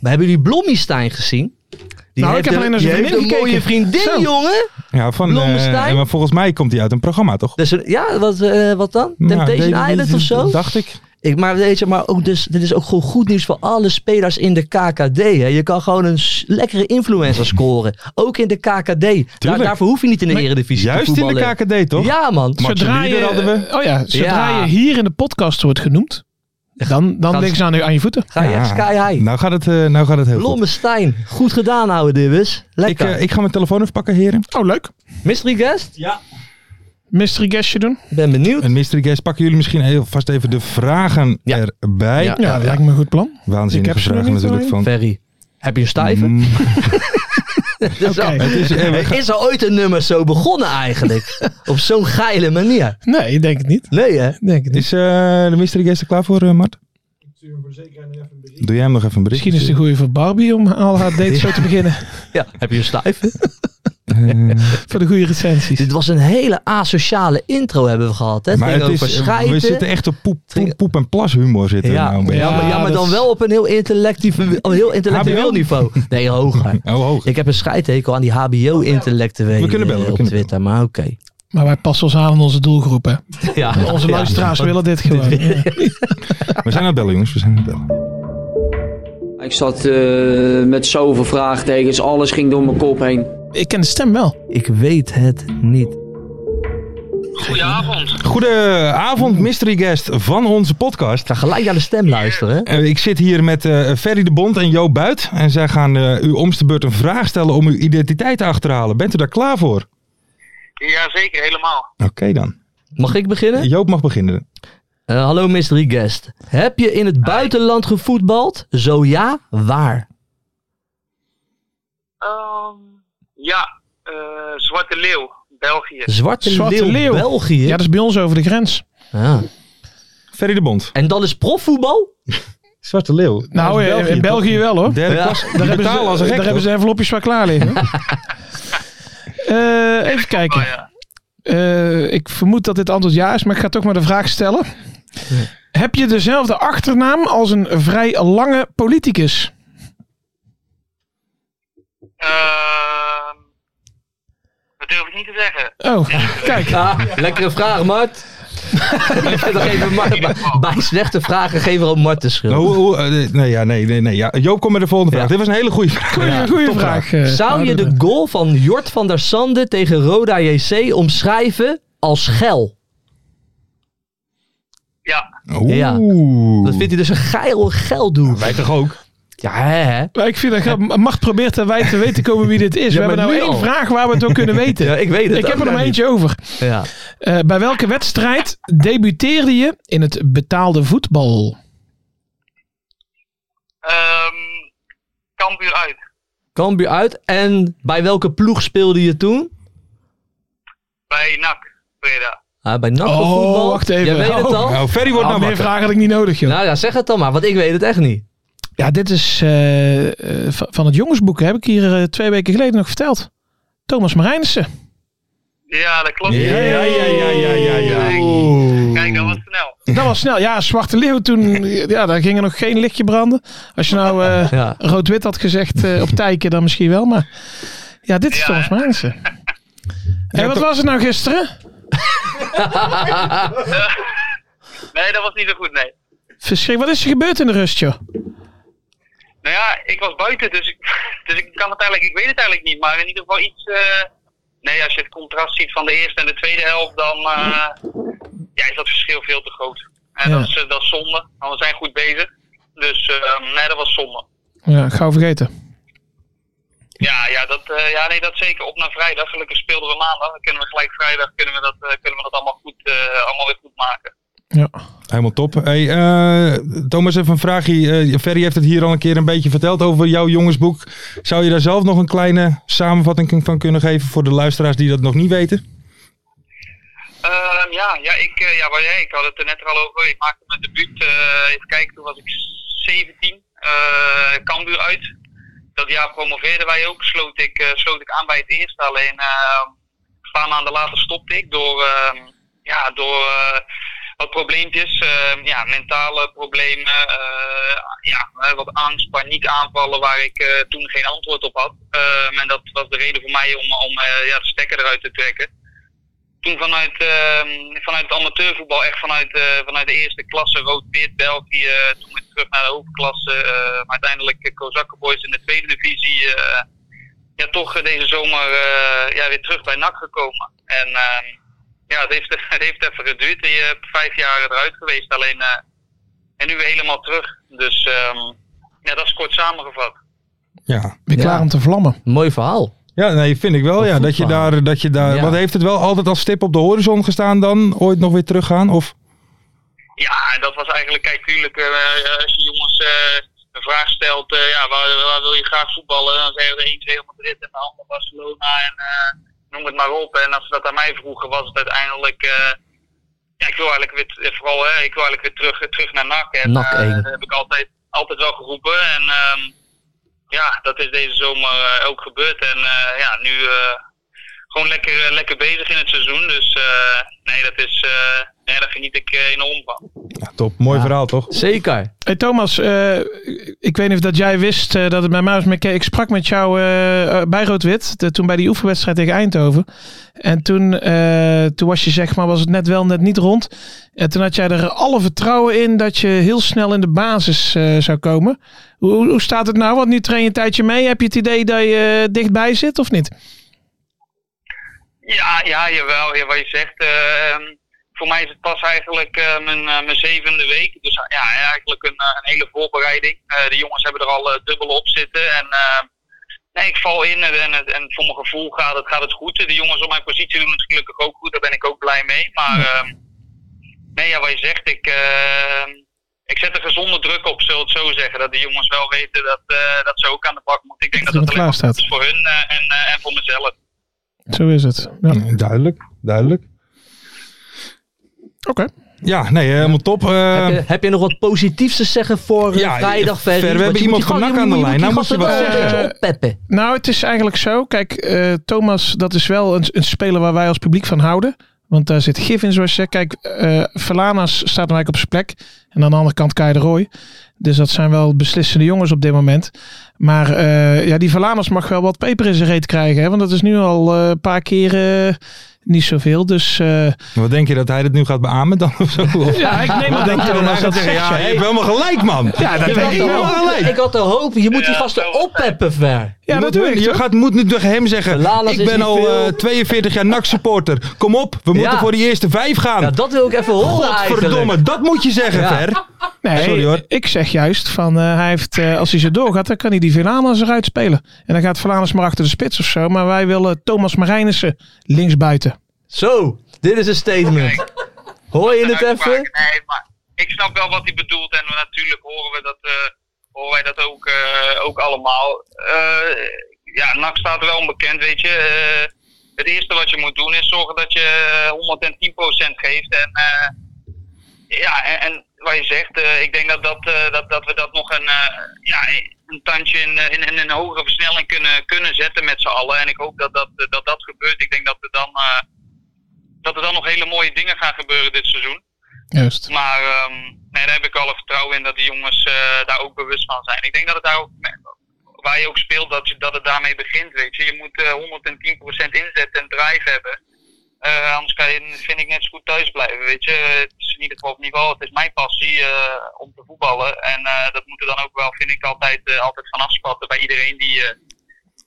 we hebben jullie Blommestein gezien. Die
Nou, ik heb
een-
alleen naar zijn
die
vriendin
heeft een mooie
gekeken.
vriendin,
Zo.
jongen.
Ja, van, eh
Blommestein?
maar volgens mij komt hij uit een programma, toch?
Dus, een- ja, wat, eh, wat dan?
Nou,
Temptation
Ja,
Island of zo?
Dacht ik.
Ik, maar weet je, maar ook dus, dit is ook gewoon goed nieuws voor alle spelers in de KKD. Hè. Je kan gewoon een s- lekkere influencer scoren. Ook in de KKD. Daar, daarvoor hoef je niet in de Eredivisie te
Juist in de
voetballen.
KKD, toch?
Ja, man.
Match
Zodra
leader
je,
hadden we.
Oh ja, zodra
Ja.
je hier in de podcast wordt genoemd, dan, dan
Gaan
liggen ze aan, je- aan je voeten.
Ga je
Ja.
echt sky high.
Nou gaat het, eh, nou gaat het heel goed.
Blommestein. Goed gedaan, ouwe Dibbes.
Ik,
Lekker.
eh, ik ga mijn telefoon even pakken, heren.
Oh, leuk.
Mystery guest?
Mystery guestje doen.
Ik ben benieuwd.
Een mystery guest. Pakken jullie misschien heel vast even de vragen
Ja.
erbij.
Ja.
Ja, dat lijkt me een goed plan. Ik
Waanzinnige
heb ze nog
vragen
niet
natuurlijk van.
Ferry. Heb je een stijve?
Mm,
Dat is
Oké.
al-
het is, eh, we gaan-
Is er ooit een nummer zo begonnen eigenlijk? Op zo'n geile manier.
Nee, ik denk het niet.
Nee hè?
Ik Denk het niet.
is eh, de mystery guest er klaar voor, eh, Mart? Doe jij hem nog even een bericht?
Misschien is het een goede voor Barbie om al haar dates zo te beginnen.
Ja, heb je een stijve?
Voor de goede recensies.
Dit was een hele asociale intro hebben we gehad hè? Het
maar
ging
het
over
is, we
schijten.
zitten echt op poep,
Ging-
poep, poep en plas humor zitten. we
ja,
nou een beetje.
ja, maar, ja, maar
dat
dan
is-
wel op een heel, intellectieve, op een heel intellectueel
HBO?
niveau. Nee, hoger.
Oh, hoog.
Ik heb een scheidhekel aan die HBO-intellectuelen
We kunnen bellen, we
op
kunnen
Twitter, maar oké.
Maar wij passen ons aan aan onze doelgroep. Hè.
Ja,
Onze
ja.
luisteraars willen dit gewoon. Ja.
We zijn aan het bellen, jongens. We zijn aan het bellen.
Ik zat eh, met zoveel vraagtekens, alles ging door mijn kop heen.
Ik ken de stem wel.
Ik weet het niet.
Goedenavond, mystery guest van onze podcast.
Ik ga gelijk naar de stem luisteren. hè?
Eh, ik zit hier met eh, Ferry de Bond en Jo Buit. En zij gaan eh u omste beurt een vraag stellen om uw identiteit te achterhalen. Bent u daar klaar voor?
Jazeker, helemaal.
Oké dan.
Mag ik beginnen?
Joop mag beginnen.
Eh, hallo mystery guest. Heb je in het buitenland gevoetbald? Zo ja, waar?
Ehm, ja, eh, Zwarte Leeuw, België.
Zwarte,
Zwarte
Leeuw,
Leeuw.
België.
Ja, dat is bij ons over de grens.
Ah.
Ferry de Bond.
En dat is profvoetbal?
Zwarte Leeuw.
Nou, eh, in België wel hoor.
Derde
Ja.
klas. Die
Daar hebben, ze,
betalen als een gek.
daar hebben ze envelopjes waar klaar liggen. Eh, even kijken.
ja.
Oh,
Eh, ik vermoed dat dit antwoord ja is, maar ik ga toch maar de vraag stellen. Heb je dezelfde achternaam als een vrij lange politicus?
Ehm, dat durf ik niet te zeggen.
Oh, kijk.
Ja, lekkere vraag, Mart. Dan geven we Mart bij- bij slechte vragen geven we ook Mart de schuld.
Nou, hoe- hoe- eh, nee, ja, nee, nee, nee. Ja. Joop, kom met de volgende vraag. Dit was een hele goede vraag.
Goeie, goeie vraag. eh,
Zou je
Wouter.
de goal van Jort van der Sande tegen Roda JC omschrijven als geil?
Ja,
Oeh.
Ja. Dat vindt hij dus een geil geildoel.
Wij toch ook?
Ja, hè, hè?
Maar ik vind dat grap- Mart probeert aan wij te weten komen wie dit is. we
maar
hebben nou
nu
één
al.
vraag waar we het ook kunnen weten.
Ja, ik weet het
ik heb
ook
er nog
nou
eentje over.
Ja.
Eh, bij welke wedstrijd debuteerde je in het betaalde voetbal?
ehm Kampuur uit.
Cambuur uit. En bij welke ploeg speelde je toen?
Bij NAC, Breda.
Ah, bij NAC of
Oh,
voetbal?
wacht even.
Jij weet het
Oh.
al?
Nou, Ferry wordt
Nou,
nou
meer
wakker.
vragen had ik niet nodig, joh.
Nou ja, zeg het dan maar, want ik weet het echt niet.
Ja, dit is eh, eh, van van het jongensboek. Heb ik hier eh, twee weken geleden nog verteld. Thomas Marijnissen.
Ja, dat klopt.
Ja, ja, ja, ja, ja, ja, ja.
Kijk, dat was snel.
Dat was snel. Ja, Zwarte Leeuw toen. eh, Ja, daar ging er nog geen lichtje branden. Als je nou eh,
Ja.
rood-wit had gezegd eh, op Tijken, dan misschien wel. Maar ja, dit is
Ja.
Thomas Marijnissen. En wat was het nou gisteren?
Nee, dat was niet zo goed, nee.
Verschrik, wat is er gebeurd in de rust, joh?
Nou ja, ik was buiten, dus ik, dus ik kan het eigenlijk, ik weet het eigenlijk niet. Maar in ieder geval iets. eh, nee, als je het contrast ziet van de eerste en de tweede helft, dan eh, ja, is dat verschil veel te groot. En
Ja.
dat, is, eh, dat is zonde, want we zijn goed bezig. Dus eh, nee, dat was zonde.
Ja, gauw vergeten.
Ja, ja, dat, eh, ja nee, dat zeker. Op naar vrijdag. Gelukkig speelden we maandag. Dan kunnen we gelijk vrijdag kunnen we dat, eh, kunnen we dat allemaal, goed, eh, allemaal weer goed maken.
Ja.
Helemaal top. Hey, eh, Thomas, even een vraagje. Eh, Ferry heeft het hier al een keer een beetje verteld over jouw jongensboek. Zou je daar zelf nog een kleine samenvatting van kunnen geven voor de luisteraars die dat nog niet weten?
Ehm, ja, ja, ik, eh, ja, waar jij, ik had het er net er al over. Ik maakte mijn debuut, eh, even kijken, toen was ik 17. eh Cambuur uit. Dat jaar promoveerden wij ook. Sloot ik, eh, sloot ik aan bij het eerste. Alleen eh, een paar maanden later stopte ik door, eh, ja, door eh, wat probleempjes. eh, ja, mentale problemen. eh, ja, eh, wat angst, paniekaanvallen waar ik eh, toen geen antwoord op had. Ehm, en dat was de reden voor mij om, om eh, ja, de stekker eruit te trekken toen vanuit, ehm, vanuit het amateurvoetbal, echt vanuit, eh, vanuit de eerste klasse, rood-wit, België, eh, toen weer terug naar de hoofdklasse. eh, maar uiteindelijk eh, Kozakken Boys in de tweede divisie. eh, ja, toch eh, deze zomer eh, ja, weer terug bij NAC gekomen. En ehm, ja, het heeft, het heeft even geduurd. Je hebt vijf jaar eruit geweest, alleen eh, en nu weer helemaal terug. Dus ehm, ja, dat is kort samengevat.
Ja,
Weer
Ja.
klaar om te vlammen.
Mooi verhaal.
ja nee, vind ik wel. Ja, dat je
voetbal.
daar, dat je daar,
Ja.
Wat heeft het wel altijd als stip op de horizon gestaan dan? Ooit nog weer teruggaan? Of?
Ja, en dat was eigenlijk, kijk, tuurlijk, eh, als je jongens eh, een vraag stelt, eh, ja, waar, waar wil je graag voetballen? Dan zeggen ze 1, 2 Madrid en de ander Barcelona en eh, noem het maar op. En als ze dat aan mij vroegen, was het uiteindelijk, eh, ja, ik wil eigenlijk weer, t- eh, vooral, hè, ik wil eigenlijk weer terug, eh, terug naar NAC. En,
NAC
eh,
één.
dat heb ik altijd, altijd wel geroepen en ehm, ja, dat is deze zomer eh, ook gebeurd. En eh, ja, nu eh, gewoon lekker, eh, lekker bezig in het seizoen, dus eh, nee, dat is, eh, nee, daar geniet ik eh, enorm van.
Ja, top. Mooi verhaal, toch?
Zeker.
Hey Thomas, eh, ik weet niet of dat jij wist eh, dat het bij mij was. maar ik- Ik sprak met jou eh, eh, bij Rood-Wit, de- toen bij die oefenwedstrijd tegen Eindhoven. En toen, eh, toen was je zeg maar, was het net wel, net niet rond. En toen had jij er alle vertrouwen in dat je heel snel in de basis eh, zou komen. Hoe, hoe- hoe staat het nou? Want nu train je een tijdje mee. Heb je het idee dat je eh, dichtbij zit of niet?
Ja, ja, jawel. Ja, wat je zegt. eh, ehm, voor mij is het pas eigenlijk eh, mijn, eh, mijn zevende week. Dus eh, ja, eigenlijk een, eh, een hele voorbereiding. Eh, de jongens hebben er al eh, dubbel op zitten. En eh, nee, ik val in en, en, en voor mijn gevoel gaat het, gaat het goed. De jongens op mijn positie doen het gelukkig ook goed. Daar ben ik ook blij mee. Maar ehm, nee, ja, wat je zegt, ik, ehm, ik zet er gezonde druk op, zullen we het zo zeggen. Dat de jongens wel weten dat, eh, dat ze ook aan de bak moeten. Ik denk
Dat
dat
het
dat alleen maar
klaar
goed
staat.
is voor hun eh, en, eh, en voor mezelf.
Zo is het. Ja.
Mm.
Oké.
Duidelijk, duidelijk. Ja, nee, helemaal top. Eh,
heb, je, heb je nog wat positiefs te zeggen voor eh,
Ja,
vrijdag
Fer,
verder?
we hebben iemand van NAC aan de lijn. Nou moet je wat
een
zeggen.
beetje oppeppen.
Nou, het is eigenlijk zo. Kijk, eh, Thomas, dat is wel een, een speler waar wij als publiek van houden. Want daar zit gif in, zoals je zegt. Kijk, eh Verlanas staat nou eigenlijk op zijn plek. En aan de andere kant Kai de Roy. Dus dat zijn wel beslissende jongens op dit moment. Maar eh, ja, die Verlanas mag wel wat peper in zijn reet krijgen. Hè? Want dat is nu al eh, een paar keer eh, niet zoveel. Dus eh,
Wat denk je dat hij dat nu gaat beamen dan of zo? Of
ja, ik neem aan
denk
dat
je dan hij
Thomas
gaat
dat
zeggen,
zegt.
ja,
Ja,
je hebt helemaal gelijk man. Ja, dat
had de hoop- ik had de hoop, je moet die
Ja,
gasten
zo-
oppeppen ver.
ja, dat doe ik.
Je
toch?
gaat, moet nu tegen hem zeggen,
Lalas
ik
is
ben
niet
al
veel.
eh, 42 jaar NAC supporter. Kom op, we moeten
Ja.
voor die eerste vijf gaan.
Ja, dat wil ik even horen eigenlijk.
Godverdomme, dat moet je zeggen
Ja.
Ver.
Nee,
Sorry, hoor.
ik zeg juist van eh, hij heeft, eh, als hij zo doorgaat, dan kan hij die Villanas eruit spelen. En dan gaat Villanas maar achter de spits of zo. Maar wij willen Thomas Marijnissen linksbuiten.
Zo, dit is een statement. Hoor je het even?
Nee, maar ik snap wel wat hij bedoelt. En natuurlijk horen, we dat, eh, horen wij dat ook, eh, ook allemaal. Eh, ja, NAC staat wel onbekend, weet je. Eh, het eerste wat je moet doen is zorgen dat je 110% geeft. En, eh, ja, en, en wat je zegt, eh, ik denk dat, dat, eh, dat, dat we dat nog een, eh, ja, een tandje in, eh, in, in een hogere versnelling kunnen, kunnen zetten met z'n allen. En ik hoop dat dat, eh, dat, dat gebeurt. Ik denk dat er, dan, eh, dat er dan nog hele mooie dingen gaan gebeuren dit seizoen.
Juist.
Maar ehm, nee, daar heb ik alle vertrouwen in dat die jongens eh, daar ook bewust van zijn. Ik denk dat het daar ook, waar je ook speelt, dat, je, dat het daarmee begint. Weet je. je moet eh 110% inzet en drive hebben. Eh, anders kan je, vind ik net zo goed thuis blijven. Weet je. Het is in ieder geval op niveau. Het is mijn passie eh, om te voetballen. En eh, dat moet er dan ook wel, vind ik, altijd, eh, altijd van afspatten bij iedereen die, eh,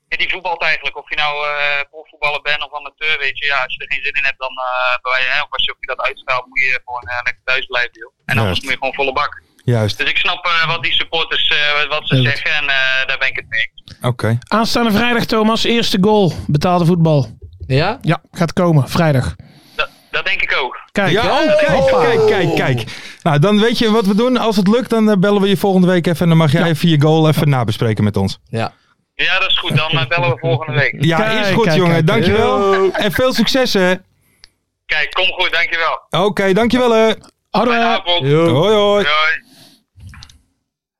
ja, die voetbalt eigenlijk. Of je nou eh profvoetballer bent of amateur, weet je. Ja, als je er geen zin in hebt, dan eh, bij, hè, of als je, of je dat uitstraalt, moet je gewoon eh, lekker thuis blijven, joh. En anders
Juist.
moet je gewoon volle bak.
Juist,
Dus ik snap eh, wat die supporters eh, wat ze
Ja, dat-
zeggen en eh, daar ben ik het mee.
oké.
Aanstaande vrijdag, Thomas. Eerste goal. Betaalde voetbal.
Ja?
Ja, gaat komen. Vrijdag.
Dat, dat denk ik ook.
Kijk.
Ja, oh, kijk, kijk, kijk, kijk. Nou, dan weet je wat we doen. Als het lukt, dan eh, bellen we je volgende week even. En dan mag jij even je goal even nabespreken met ons.
Ja.
Ja, dat is goed. Dan eh, bellen we volgende week.
Ja,
Kijk,
is goed,
kijk,
jongen.
kijk.
dankjewel. En veel succes, hè. Oké,
Kijk, kom goed. Dankjewel.
dankjewel, hè.
Hadden we- Nou,
Fijne avond.
Yo.
Hoi, hoi.
Doei.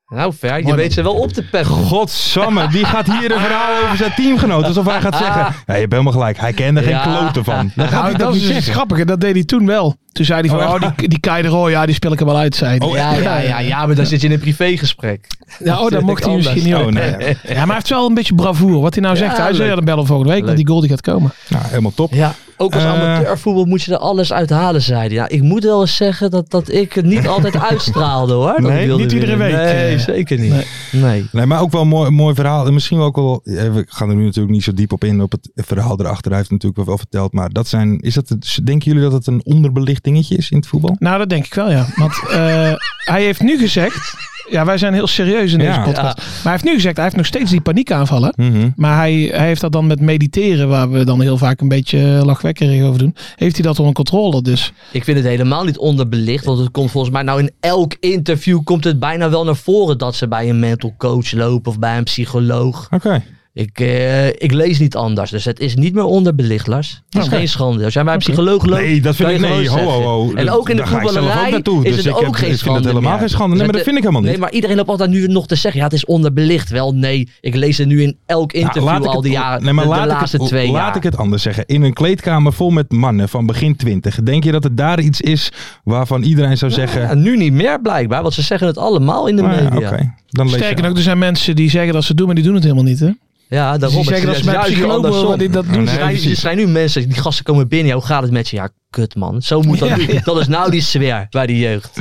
Nou, ver, je
Mooi,
weet ze wel op te peppen.
Godsamme, die gaat hier een verhaal over zijn teamgenoot. Alsof hij gaat zeggen, ja, je hebt helemaal gelijk. Hij kende geen
Ja.
klote van. Dan gaat
Nou,
hij dat
dat
niet
is dus
zeggen.
grappig. Dat deed hij toen wel. Toen zei hij van,
Oh,
oh,
echt?
die, die Kai de Roy, ja, die speel ik er wel uit, zei hij.
ja, ja, ja, ja, maar dan zit je in een privégesprek.
Ja, oh, dat
ik
mocht hij
anders.
misschien niet
Oh,
ook.
nee.
Ja, maar hij heeft wel een beetje bravoer. Wat hij nou
Ja,
zegt. Hij zei,
leuk.
ja, dan bellen we volgende week.
Leuk.
Want die goal die gaat komen.
Nou, helemaal top.
Ja, ook als
Eh.
amateurvoetbal moet je er alles uit halen, zei hij. Ja, ik moet wel eens zeggen dat, dat ik het niet altijd uitstraalde hoor. dat
Nee,
ik wilde
niet iedere
winnen.
week,
Nee,
eh.
zeker niet. Nee.
Nee, maar ook wel een mooi, mooi verhaal. En misschien ook wel. eh, We gaan er nu natuurlijk niet zo diep op in op het verhaal erachter. Hij heeft natuurlijk wel verteld. Maar dat zijn. Is dat het, denken jullie dat het een onderbelicht dingetje is in het voetbal?
Nou, dat denk ik wel, ja. Want eh, hij heeft nu gezegd... Ja, wij zijn heel serieus in deze
Ja.
podcast. Maar hij heeft nu gezegd, hij heeft nog steeds die paniekaanvallen.
Mhm.
Maar hij, hij heeft dat dan met mediteren, waar we dan heel vaak een beetje eh, lachwekkerig over doen. Heeft hij dat onder controle? Dus
Ik vind het helemaal niet onderbelicht, want het komt volgens mij nou in elk interview komt het bijna wel naar voren dat ze bij een mental coach lopen of bij een psycholoog.
Oké.
Ik, eh, ik lees niet anders, dus het is niet meer onderbelicht, Lars. Het is
Nou, Oké.
geen schande. Als jij bij een psycholoog loopt,
Nee, dat vind
kan
ik.
je gewoon
Nee, ho, ho,
zeggen.
ho.
En
Dat-
ook in de
daar ga ik zelf ook
voetballerij
naartoe,
is
dus
het
ik
ook
heb-
geen
ik vind het
schande
helemaal
meer.
geen schande. Nee,
Dus
maar dat
het-
vind ik helemaal
Nee,
niet.
maar iedereen loopt altijd nu nog te zeggen, ja, het is onderbelicht. Wel, nee, ik lees er nu in elk interview
Nou, laat ik
al
het-
die jaren,
nee, maar
de, de
laat ik
laatste
het,
twee
Laat
jaar.
ik het anders zeggen. In een kleedkamer vol met mannen van begin twintig. Denk je dat het daar iets is waarvan iedereen zou zeggen.
Ja, nu niet meer blijkbaar, want ze zeggen het allemaal in de
nou ja,
media.
Oké. Dan lees
sterker
je.
nog, er zijn mensen die zeggen dat ze het doen, maar die doen het helemaal niet. Hè?
Ja,
Dus
daarom.
die
het
zeggen dat
is
ze bij
juist
psychologen
andersom.
wel die dat doen.
Nee,
Er zijn-
precies.
er zijn nu mensen, die gasten komen binnen. Ja, hoe gaat het met je? Ja, kut man. Zo moet dat
Ja,
nu. Dat is nou die sfeer bij die jeugd.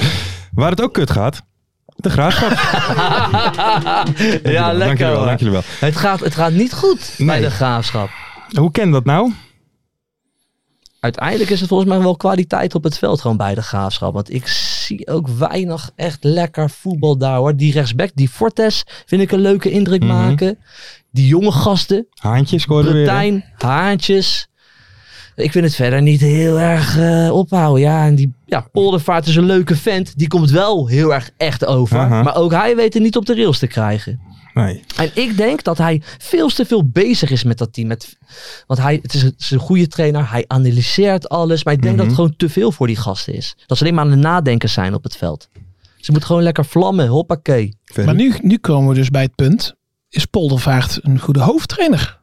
Waar het ook kut gaat. De graafschap.
ja,
Dank
lekker
jullie wel.
hoor.
Dank jullie wel.
Het gaat, het gaat niet goed bij
Nee.
de graafschap.
Hoe ken dat nou?
Uiteindelijk is het volgens mij wel kwaliteit op het veld gewoon bij de graafschap. Want ik zie ook weinig echt lekker voetbal daar hoor. Die rechtsback, die Fortes, vind ik een leuke indruk
Mhm.
maken. Die jonge gasten.
Haantje scoorde weer. hè?
Brutijn, Haantjes. Ik vind het verder niet heel erg eh, ophouden. Ja, en die ja, Poldervaart is een leuke vent. Die komt wel heel erg echt over.
Aha.
Maar ook hij weet het niet op de rails te krijgen.
Nee.
En ik denk dat hij veel te veel bezig is met dat team. Met, want hij het is, een- het is een goede trainer. Hij analyseert alles. Maar ik denk dat het gewoon te veel voor die gasten is. Dat ze alleen maar aan het nadenken zijn op het veld. Ze moeten gewoon lekker vlammen. Hoppakee.
Verder.
Maar nu, nu komen we dus bij het punt. Is Poldervaart een goede hoofdtrainer?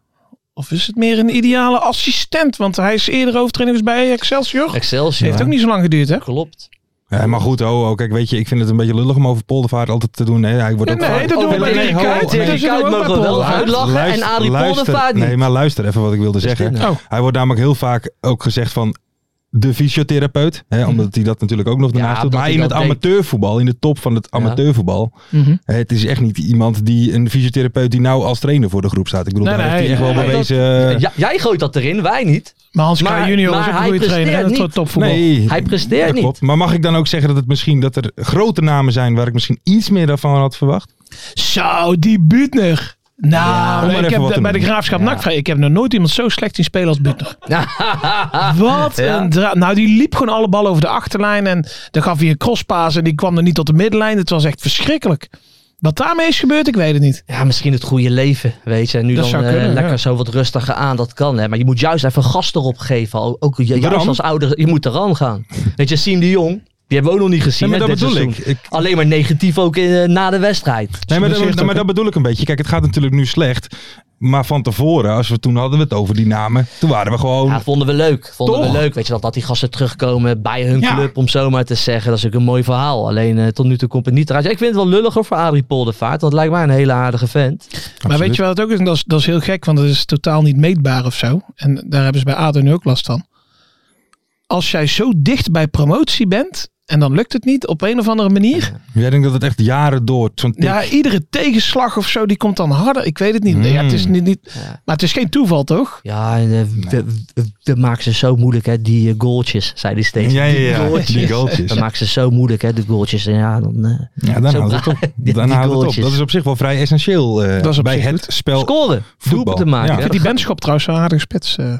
Of is het meer een ideale assistent? Want hij is eerder hoofdtrainer geweest bij Excelsior.
Excelsior.
Heeft ook niet zo lang geduurd, hè?
Klopt.
Ja, maar goed, oh, oh, kijk, weet je, ik vind het een beetje lullig om over Poldervaart altijd te doen. Nee, hij wordt
Nee,
ook
nee,
vaak-
dat doen we
Oh,
bij
nee,
Dirk
ho,
Kuyt.
nee.
Dirk Kuyt
mogen we wel uitlachen en Arie Poldervaart niet.
Nee, maar luister even wat ik wilde zeggen.
dit
nou?
Hij wordt namelijk heel vaak ook gezegd van de fysiotherapeut. Hè, omdat hij dat natuurlijk ook nog daarnaast doet.
dat
Maar
hij
in het
dat deed.
amateurvoetbal, in de top van het amateurvoetbal.
Mhm.
hè, Het is echt niet iemand die, een fysiotherapeut die nou als trainer voor de groep staat. Ik bedoel,
Nee,
daar
nee,
heeft hij echt wel
nee,
bewezen... eh,
Ja, jij gooit dat erin, wij niet.
Maar Hans Kraaij
Maar-
junior is
maar
ook een
hij
goede trainer. hè?
presteert
Dat
niet.
topvoetbal.
Nee,
Hij presteert
dat
niet.
klopt. Maar mag ik dan ook zeggen dat het misschien dat er grote namen zijn waar ik misschien iets meer daarvan had verwacht?
Zo, die Butner.
Ja, om
Nou,
maar even
ik
wat
heb
te
bij de
noemen.
Graafschap Nakvrij, ik heb nog nooit iemand zo slecht zien spelen als Butner.
Nou,
Wat een dra- Nou, die liep gewoon alle ballen over de achterlijn en dan gaf hij een crosspaas en die kwam er niet tot de middenlijn. Het was echt verschrikkelijk. Wat daarmee is gebeurd, ik weet het niet.
Ja, misschien het goede leven, weet je. En nu
Dat
dan
zou
eh,
kunnen,
lekker
ja.
zo wat rustiger aan, dat kan. Hè. Maar je moet juist even gas erop geven. Al- Ook ju- juist
Ram?
als ouder, je moet eraan gaan. Weet je, Siem de Jong, die hebben we ook nog niet gezien.
Nee, maar
hè,
dat
dit
bedoel
seizoen.
ik. Ik-
Alleen maar negatief ook eh, na de wedstrijd.
Nee, maar, dat-
Geblesseerd
maar
ook,
dat bedoel ik een beetje. Kijk, het gaat natuurlijk nu slecht. Maar van tevoren, als we toen hadden we het over die namen, toen waren we gewoon.
Ja, vonden we leuk. Vonden
Toch?
we leuk, weet je, dat, dat die gasten terugkomen bij hun
Ja.
club, om zo maar te zeggen. Dat is ook een mooi verhaal. Alleen eh, tot nu toe komt het niet eruit. Ja, ik vind het wel lullig hoor, voor Arie Poldervaart. Dat lijkt mij een hele aardige vent.
Maar
Absoluut.
weet je wat het ook is? En Dat is, dat is heel gek, want dat is totaal niet meetbaar of zo. En daar hebben ze bij ADO nu ook last van. Als jij zo dicht bij promotie bent en dan lukt het niet op een of andere manier.
Jij denkt dat het echt jaren door. Zo'n tik.
Ja, iedere tegenslag of zo, die komt dan harder. Ik weet het niet. Ja, het
Hmm.
is niet, niet Maar het is geen toeval, toch?
Ja, en, eh, we- we- dat maken ze zo moeilijk, hè, die eh, goaltjes, zei hij steeds.
ja, ja, ja. Die
Dat
goaltjes.
maakt ze zo moeilijk, hè, de goaltjes. En ja, dan eh,
Ja, dan
Zo
houdt het
braaf.
op.
Die-
Dan
die
houdt het op.
goaltjes.
Dat is op zich wel vrij essentieel eh,
Dat is op
bij
zich
het
goed.
spel.
scoren,
voetbal.
doelpunten maken.
Ja.
Ja,
Ik
Die Benschop trouwens wel een aardige spits. eh.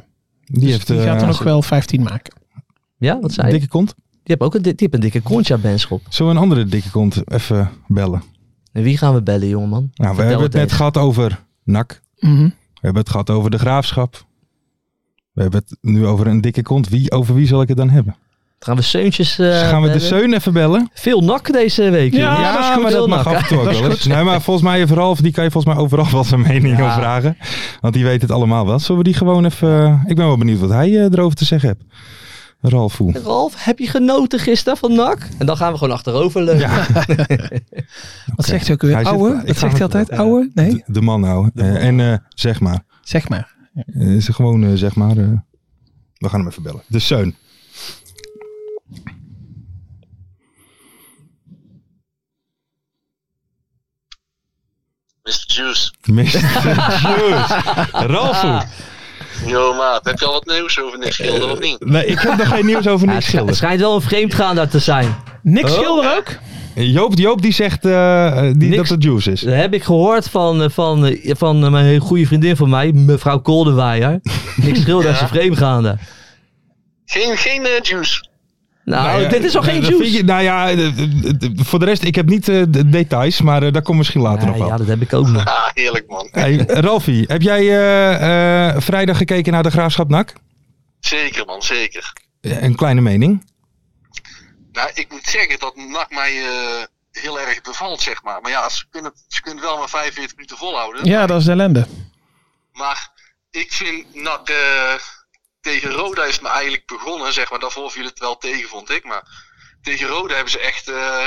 Die heeft
die
eh,
gaat er nog wel 15 maken.
ja, wat zei
een
je?
dikke kont.
Die heeft ook een, di- die heeft een dikke kontja, Benschop.
Zullen we een andere dikke kont even bellen?
En wie gaan we bellen, jongeman?
Nou, we
Vertel
hebben het net
even.
gehad over NAC.
Mhm.
We hebben het gehad over de graafschap. We hebben het nu over een dikke kont. Wie, over wie zal ik het dan hebben?
Gaan we Seuntjes... eh,
Dus gaan we de
bellen?
Seun even bellen?
Veel nak deze week. jongen.
Ja,
goed.
maar
Veel
dat mag
nak,
af en toe ook
Dat is
wel eens. Nee, maar volgens mij, vooral, die kan je volgens mij overal wel zijn mening
Ja.
over vragen. Want die weet het allemaal wel. Zullen we die gewoon even... eh, Ik ben wel benieuwd wat hij eh, erover te zeggen hebt. Ralf hoe?
Ralf, heb je genoten gisteren van NAC? En dan gaan we gewoon achterover leunen.
Ja,
Wat zegt hij ook weer?
Hij zit-
Ouwe?
ik
Wat
ga
zegt
met-
hij altijd?
eh,
Ouwe?
de,
Nee?
de man nou. Eh, en eh, zeg maar.
Zeg maar.
Eh, Is er gewoon, eh, zeg maar... eh, we gaan hem even bellen. De Seun.
Mr. Juice.
Mr. Juice. Ralf hoe?
Yo maat, heb je al wat nieuws over Nick Schilder of
Eh.
niet?
Nee, ik heb nog geen nieuws over
Ja,
niks
het, schi- het
schilderen.
schijnt wel een vreemdgaander te zijn.
Niks Schilder ook?
Joop, Joop die zegt eh, eh, die,
Niks.
dat het juice is.
Dat heb ik gehoord van, eh, van, eh, van eh, mijn goede vriendin van mij, mevrouw Koldewijer. Niks schilder als een vreemdgaander.
Geen, geen eh, Juice.
Nou,
Nou ja,
dit is al
nou,
geen
dat
juice.
vind je- nou ja, eh, eh, eh, voor de rest, ik heb niet eh, de details, maar eh, daar komt misschien later
Nee,
nog wel.
ja, dat heb ik ook nog.
Ah, heerlijk man.
Hey, Ralfie, heb jij eh, eh, vrijdag gekeken naar de Graafschap NAC?
Zeker man, zeker.
Eh, Een kleine mening.
Nou, ik moet zeggen dat NAC mij eh, heel erg bevalt, zeg maar. Maar ja, ze kunnen, het- ze kunnen het wel maar 45 minuten volhouden.
Ja, dat is de ellende.
Maar ik vind NAC eh, tegen Roda is me eigenlijk begonnen, zeg maar. Daarvoor viel het wel tegen, vond ik. Maar tegen Roda hebben ze echt... eh,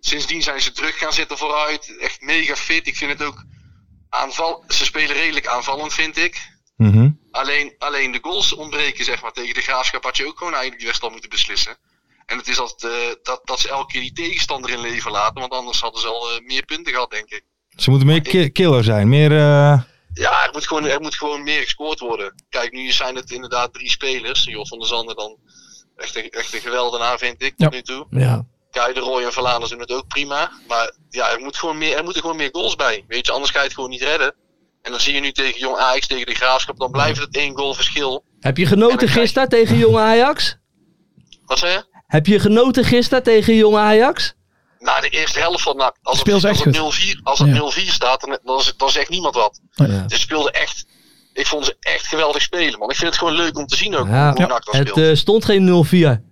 sindsdien zijn ze druk gaan zitten vooruit. Echt mega fit. Ik vind het ook... Aanval, ze spelen redelijk aanvallend, vind ik.
Mhm.
Alleen, alleen de goals ontbreken, zeg maar. Tegen de Graafschap had je ook gewoon eigenlijk die wedstrijd al moeten beslissen. En het is altijd, eh, dat, dat ze elke keer die tegenstander in leven laten. Want anders hadden ze al eh, meer punten gehad, denk ik.
Ze moeten meer ki- killer zijn. Meer, eh,
Ja, er moet, gewoon, er moet gewoon meer gescoord worden. Kijk, nu zijn het inderdaad drie spelers. Joh van der Zanden dan echt een, echt een geweldenaar, vind ik, tot
Ja.
nu toe.
Ja.
Kai de Roy en Verlaanders doen het ook prima. Maar ja, er, moet gewoon meer, er moeten gewoon meer goals bij. Weet je, anders ga je het gewoon niet redden. En dan zie je nu tegen Jong Ajax, tegen de Graafschap, dan blijft het één goal verschil.
Heb je genoten gisteren tegen jonge Ajax?
Wat zei je?
Heb je genoten gisteren tegen jonge Ajax?
Na de eerste helft van NAC. Als het,
Speelt ze
als
echt
het
goed.
0-4 als het
Ja.
0-4 staat, dan, dan, is het- dan zegt niemand wat.
Ja.
Ze speelden echt... Ik vond ze echt geweldig spelen, man. Ik vind het gewoon leuk om te zien ook,
Ja.
hoe NAC dat
Het
speelt.
eh, stond geen 0-4.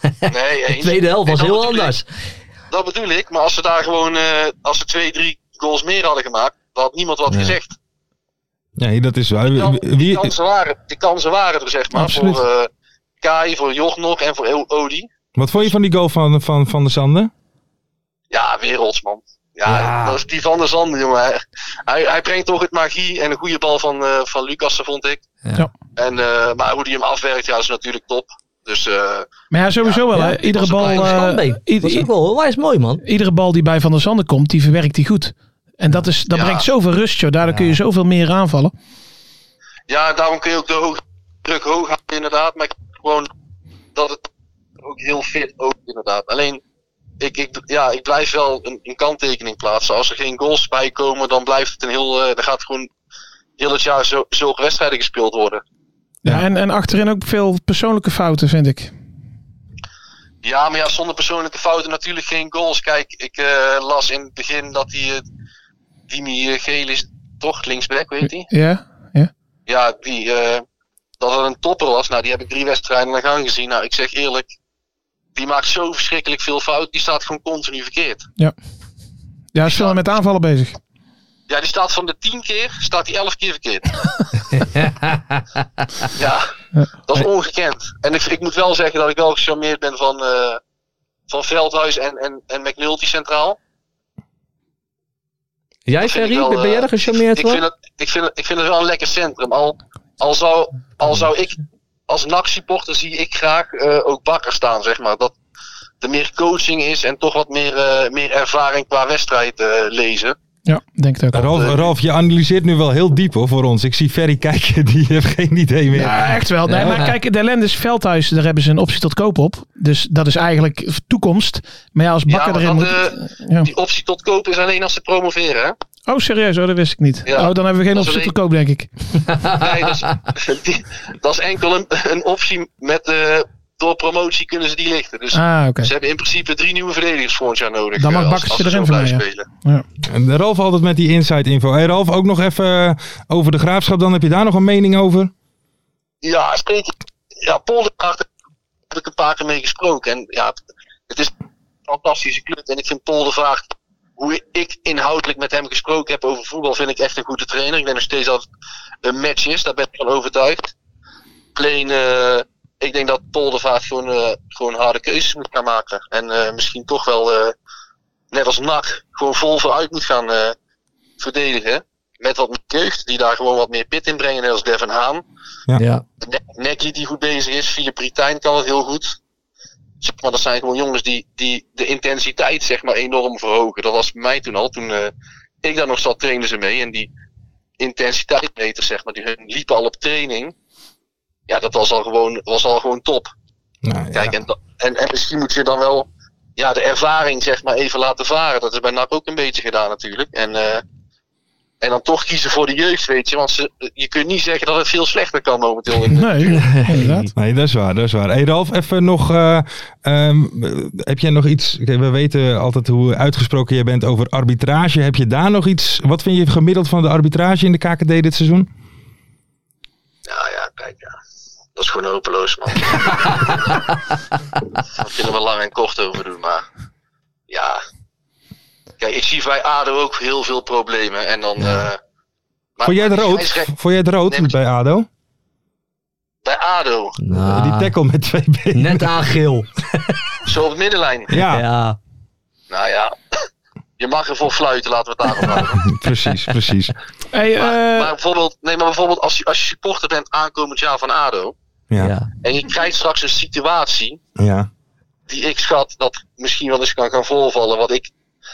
nee,
De
eens.
tweede helft
Nee,
was
dat
heel
bedoel ik.
anders.
Dat bedoel ik. Maar als ze daar gewoon... eh, als ze twee, drie goals meer hadden gemaakt, dan had niemand wat gezegd.
Nee, dat is waar.
kan-
Wie-
die,
wie-
kansen waren, die kansen waren er, zeg maar.
Absoluut.
Voor eh Kai, voor Joch nog en voor Odi.
wat vond je van die goal van, van, van de Sande?
Ja, werelds, man. Ja, dat is die van der Zanden, jongen. Hij, hij, hij brengt toch het magie en een goede bal van, eh van Lucassen, vond ik.
Ja.
En, eh, maar hoe die hem afwerkt, ja, is natuurlijk top. Dus eh,
Maar ja, sowieso wel.
ja,
hè. Iedere
was een
bal.
kleine
eh,
Standbeen.
ied-
Dat is ook wel onwijs mooi, man.
iedere bal die bij Van der Zanden komt, die verwerkt hij goed. En dat, is, dat
Ja.
brengt zoveel rust, joh. Daardoor kun je zoveel meer aanvallen.
ja, daarom kun je ook de hoog, druk hoog houden, inderdaad. Maar ik vind gewoon dat het ook heel fit ook inderdaad. Alleen, ik, ik, ja, ik blijf wel een, een kanttekening plaatsen. Als er geen goals bij komen, dan blijft het een heel. eh, dan gaat gewoon heel het jaar zo, zulke wedstrijden gespeeld worden.
Ja. en, en achterin ook veel persoonlijke fouten, vind ik.
Ja, maar ja, zonder persoonlijke fouten natuurlijk geen goals. Kijk, ik eh, las in het begin dat die eh, Dimi eh, Geel is, toch linksback, weet hij?
Ja.
Ja, die, eh, dat het een topper was. Nou, die heb ik drie wedstrijden naar gang gezien. Nou, ik zeg eerlijk, die maakt zo verschrikkelijk veel fout. Die staat gewoon continu verkeerd.
Ja, is veel met aanvallen bezig.
Ja, die staat van de tien keer, staat die elf keer verkeerd. ja, dat is ongekend. En ik, ik moet wel zeggen dat ik wel gecharmeerd ben van, eh, van Veldhuis en, en, en McNulty centraal.
Jij,
Dat vind ik
Ferry,
wel,
ben
eh,
jij er gecharmeerd
ik vind,
van?
het, ik, vind het, ik vind het wel een lekker centrum. Al, al, zou, al zou ik als NAC-supporter zie ik graag eh, ook bakker staan, zeg maar. Dat er meer coaching is en toch wat meer, eh, meer ervaring qua wedstrijd eh, lezen.
Ja, denk ik ook.
Ralf,
eh,
Ralf, je analyseert nu wel heel diep hoor, voor ons. Ik zie Ferry kijken, die heeft geen idee meer.
Ja, echt wel. Nee,
Ja.
maar kijk, de ellende is Veldhuis, daar hebben ze een optie tot koop op. Dus dat is eigenlijk toekomst. Maar ja, als Bakker
ja,
erin
want
moet...
dat,
ja.
eh, die optie tot kopen is alleen als ze promoveren, hè?
Oh, serieus? Oh, dat wist ik niet.
Ja.
Oh, dan hebben we geen
Dat is
optie tot
een-
koop, denk ik.
Nee, dat is, die- dat is enkel een, een optie met... eh, door promotie kunnen ze die lichten. Dus
Ah, oké.
ze hebben in principe drie nieuwe verdedigers volgend jaar nodig.
Dan mag
eh, als-
Bakker
als
ze
ze
erin
zo
voor
blijven
mij, ja.
spelen.
En Ralf altijd met die inside info. Hey Ralf, ook nog even eh, over de graafschap. Dan heb je daar nog een mening over?
Ja, zeker. Ja, Poldervaart heb ik een paar keer mee gesproken. En ja, het is een fantastische club. En ik vind Poldervaart, hoe ik inhoudelijk met hem gesproken heb over voetbal, vind ik echt een goede trainer. Ik denk nog steeds dat het een match is, daar ben ik van overtuigd. Alleen, eh, ik denk dat Poldervaart gewoon, eh, gewoon harde keuzes moet gaan maken. En eh, misschien toch wel, eh, net als NAC, gewoon vol vooruit moet gaan eh, verdedigen. Met wat meer jeugd, die daar gewoon wat meer pit in brengen, net als Devin Haan.
Ja.
Ne- Nekkie die goed bezig is. Philip Rietijn kan het heel goed. Zeg maar, dat zijn gewoon jongens die, die de intensiteit zeg maar, enorm verhogen. Dat was bij mij toen al. Toen eh, ik daar nog zat, trainden ze mee. En die intensiteitsmeters, zeg maar, die hun liepen al op training. Ja, dat was al gewoon, was al gewoon top.
Nou,
Kijk, en, da- en, en misschien moet je dan wel ja, de ervaring zeg maar, even laten varen. Dat is bij NAC ook een beetje gedaan natuurlijk. En, eh, en dan toch kiezen voor de jeugd, weet je. Want ze, je kunt niet zeggen dat het veel slechter kan momenteel in de
Nee, inderdaad.
Nee, dat is waar, dat is waar. Hey Ralf, even nog, eh, ehm, heb jij nog iets, Kijk, we weten altijd hoe uitgesproken jij bent over arbitrage. Heb je daar nog iets, wat vind je gemiddeld van de arbitrage in de KKD dit seizoen?
Ja, Nou ja, kijk, ja. Dat is gewoon hopeloos, man. Daar kunnen we lang en kort over doen, maar... Ja. Kijk, ik zie bij ADO ook heel veel problemen. En dan... eh, maar,
Vond jij het
maar die
rood,
scheidsrechter-
vond jij het rood
Nee, maar-
bij ADO?
Bij ADO.
Die
Nou,
tackle met twee benen.
net aan geel.
Zo op het middenlijn.
Ja,
Ja.
Nou ja. Je mag ervoor fluiten, laten we het daarop houden.
precies, precies.
Hey, eh,
Maar, maar bijvoorbeeld, nee, maar bijvoorbeeld als je, als je supporter bent aankomend jaar van ADO...
Ja, ja.
Ja.
En je krijgt straks een situatie
ja.
die ik schat dat misschien wel eens kan gaan voorvallen. Wat ik,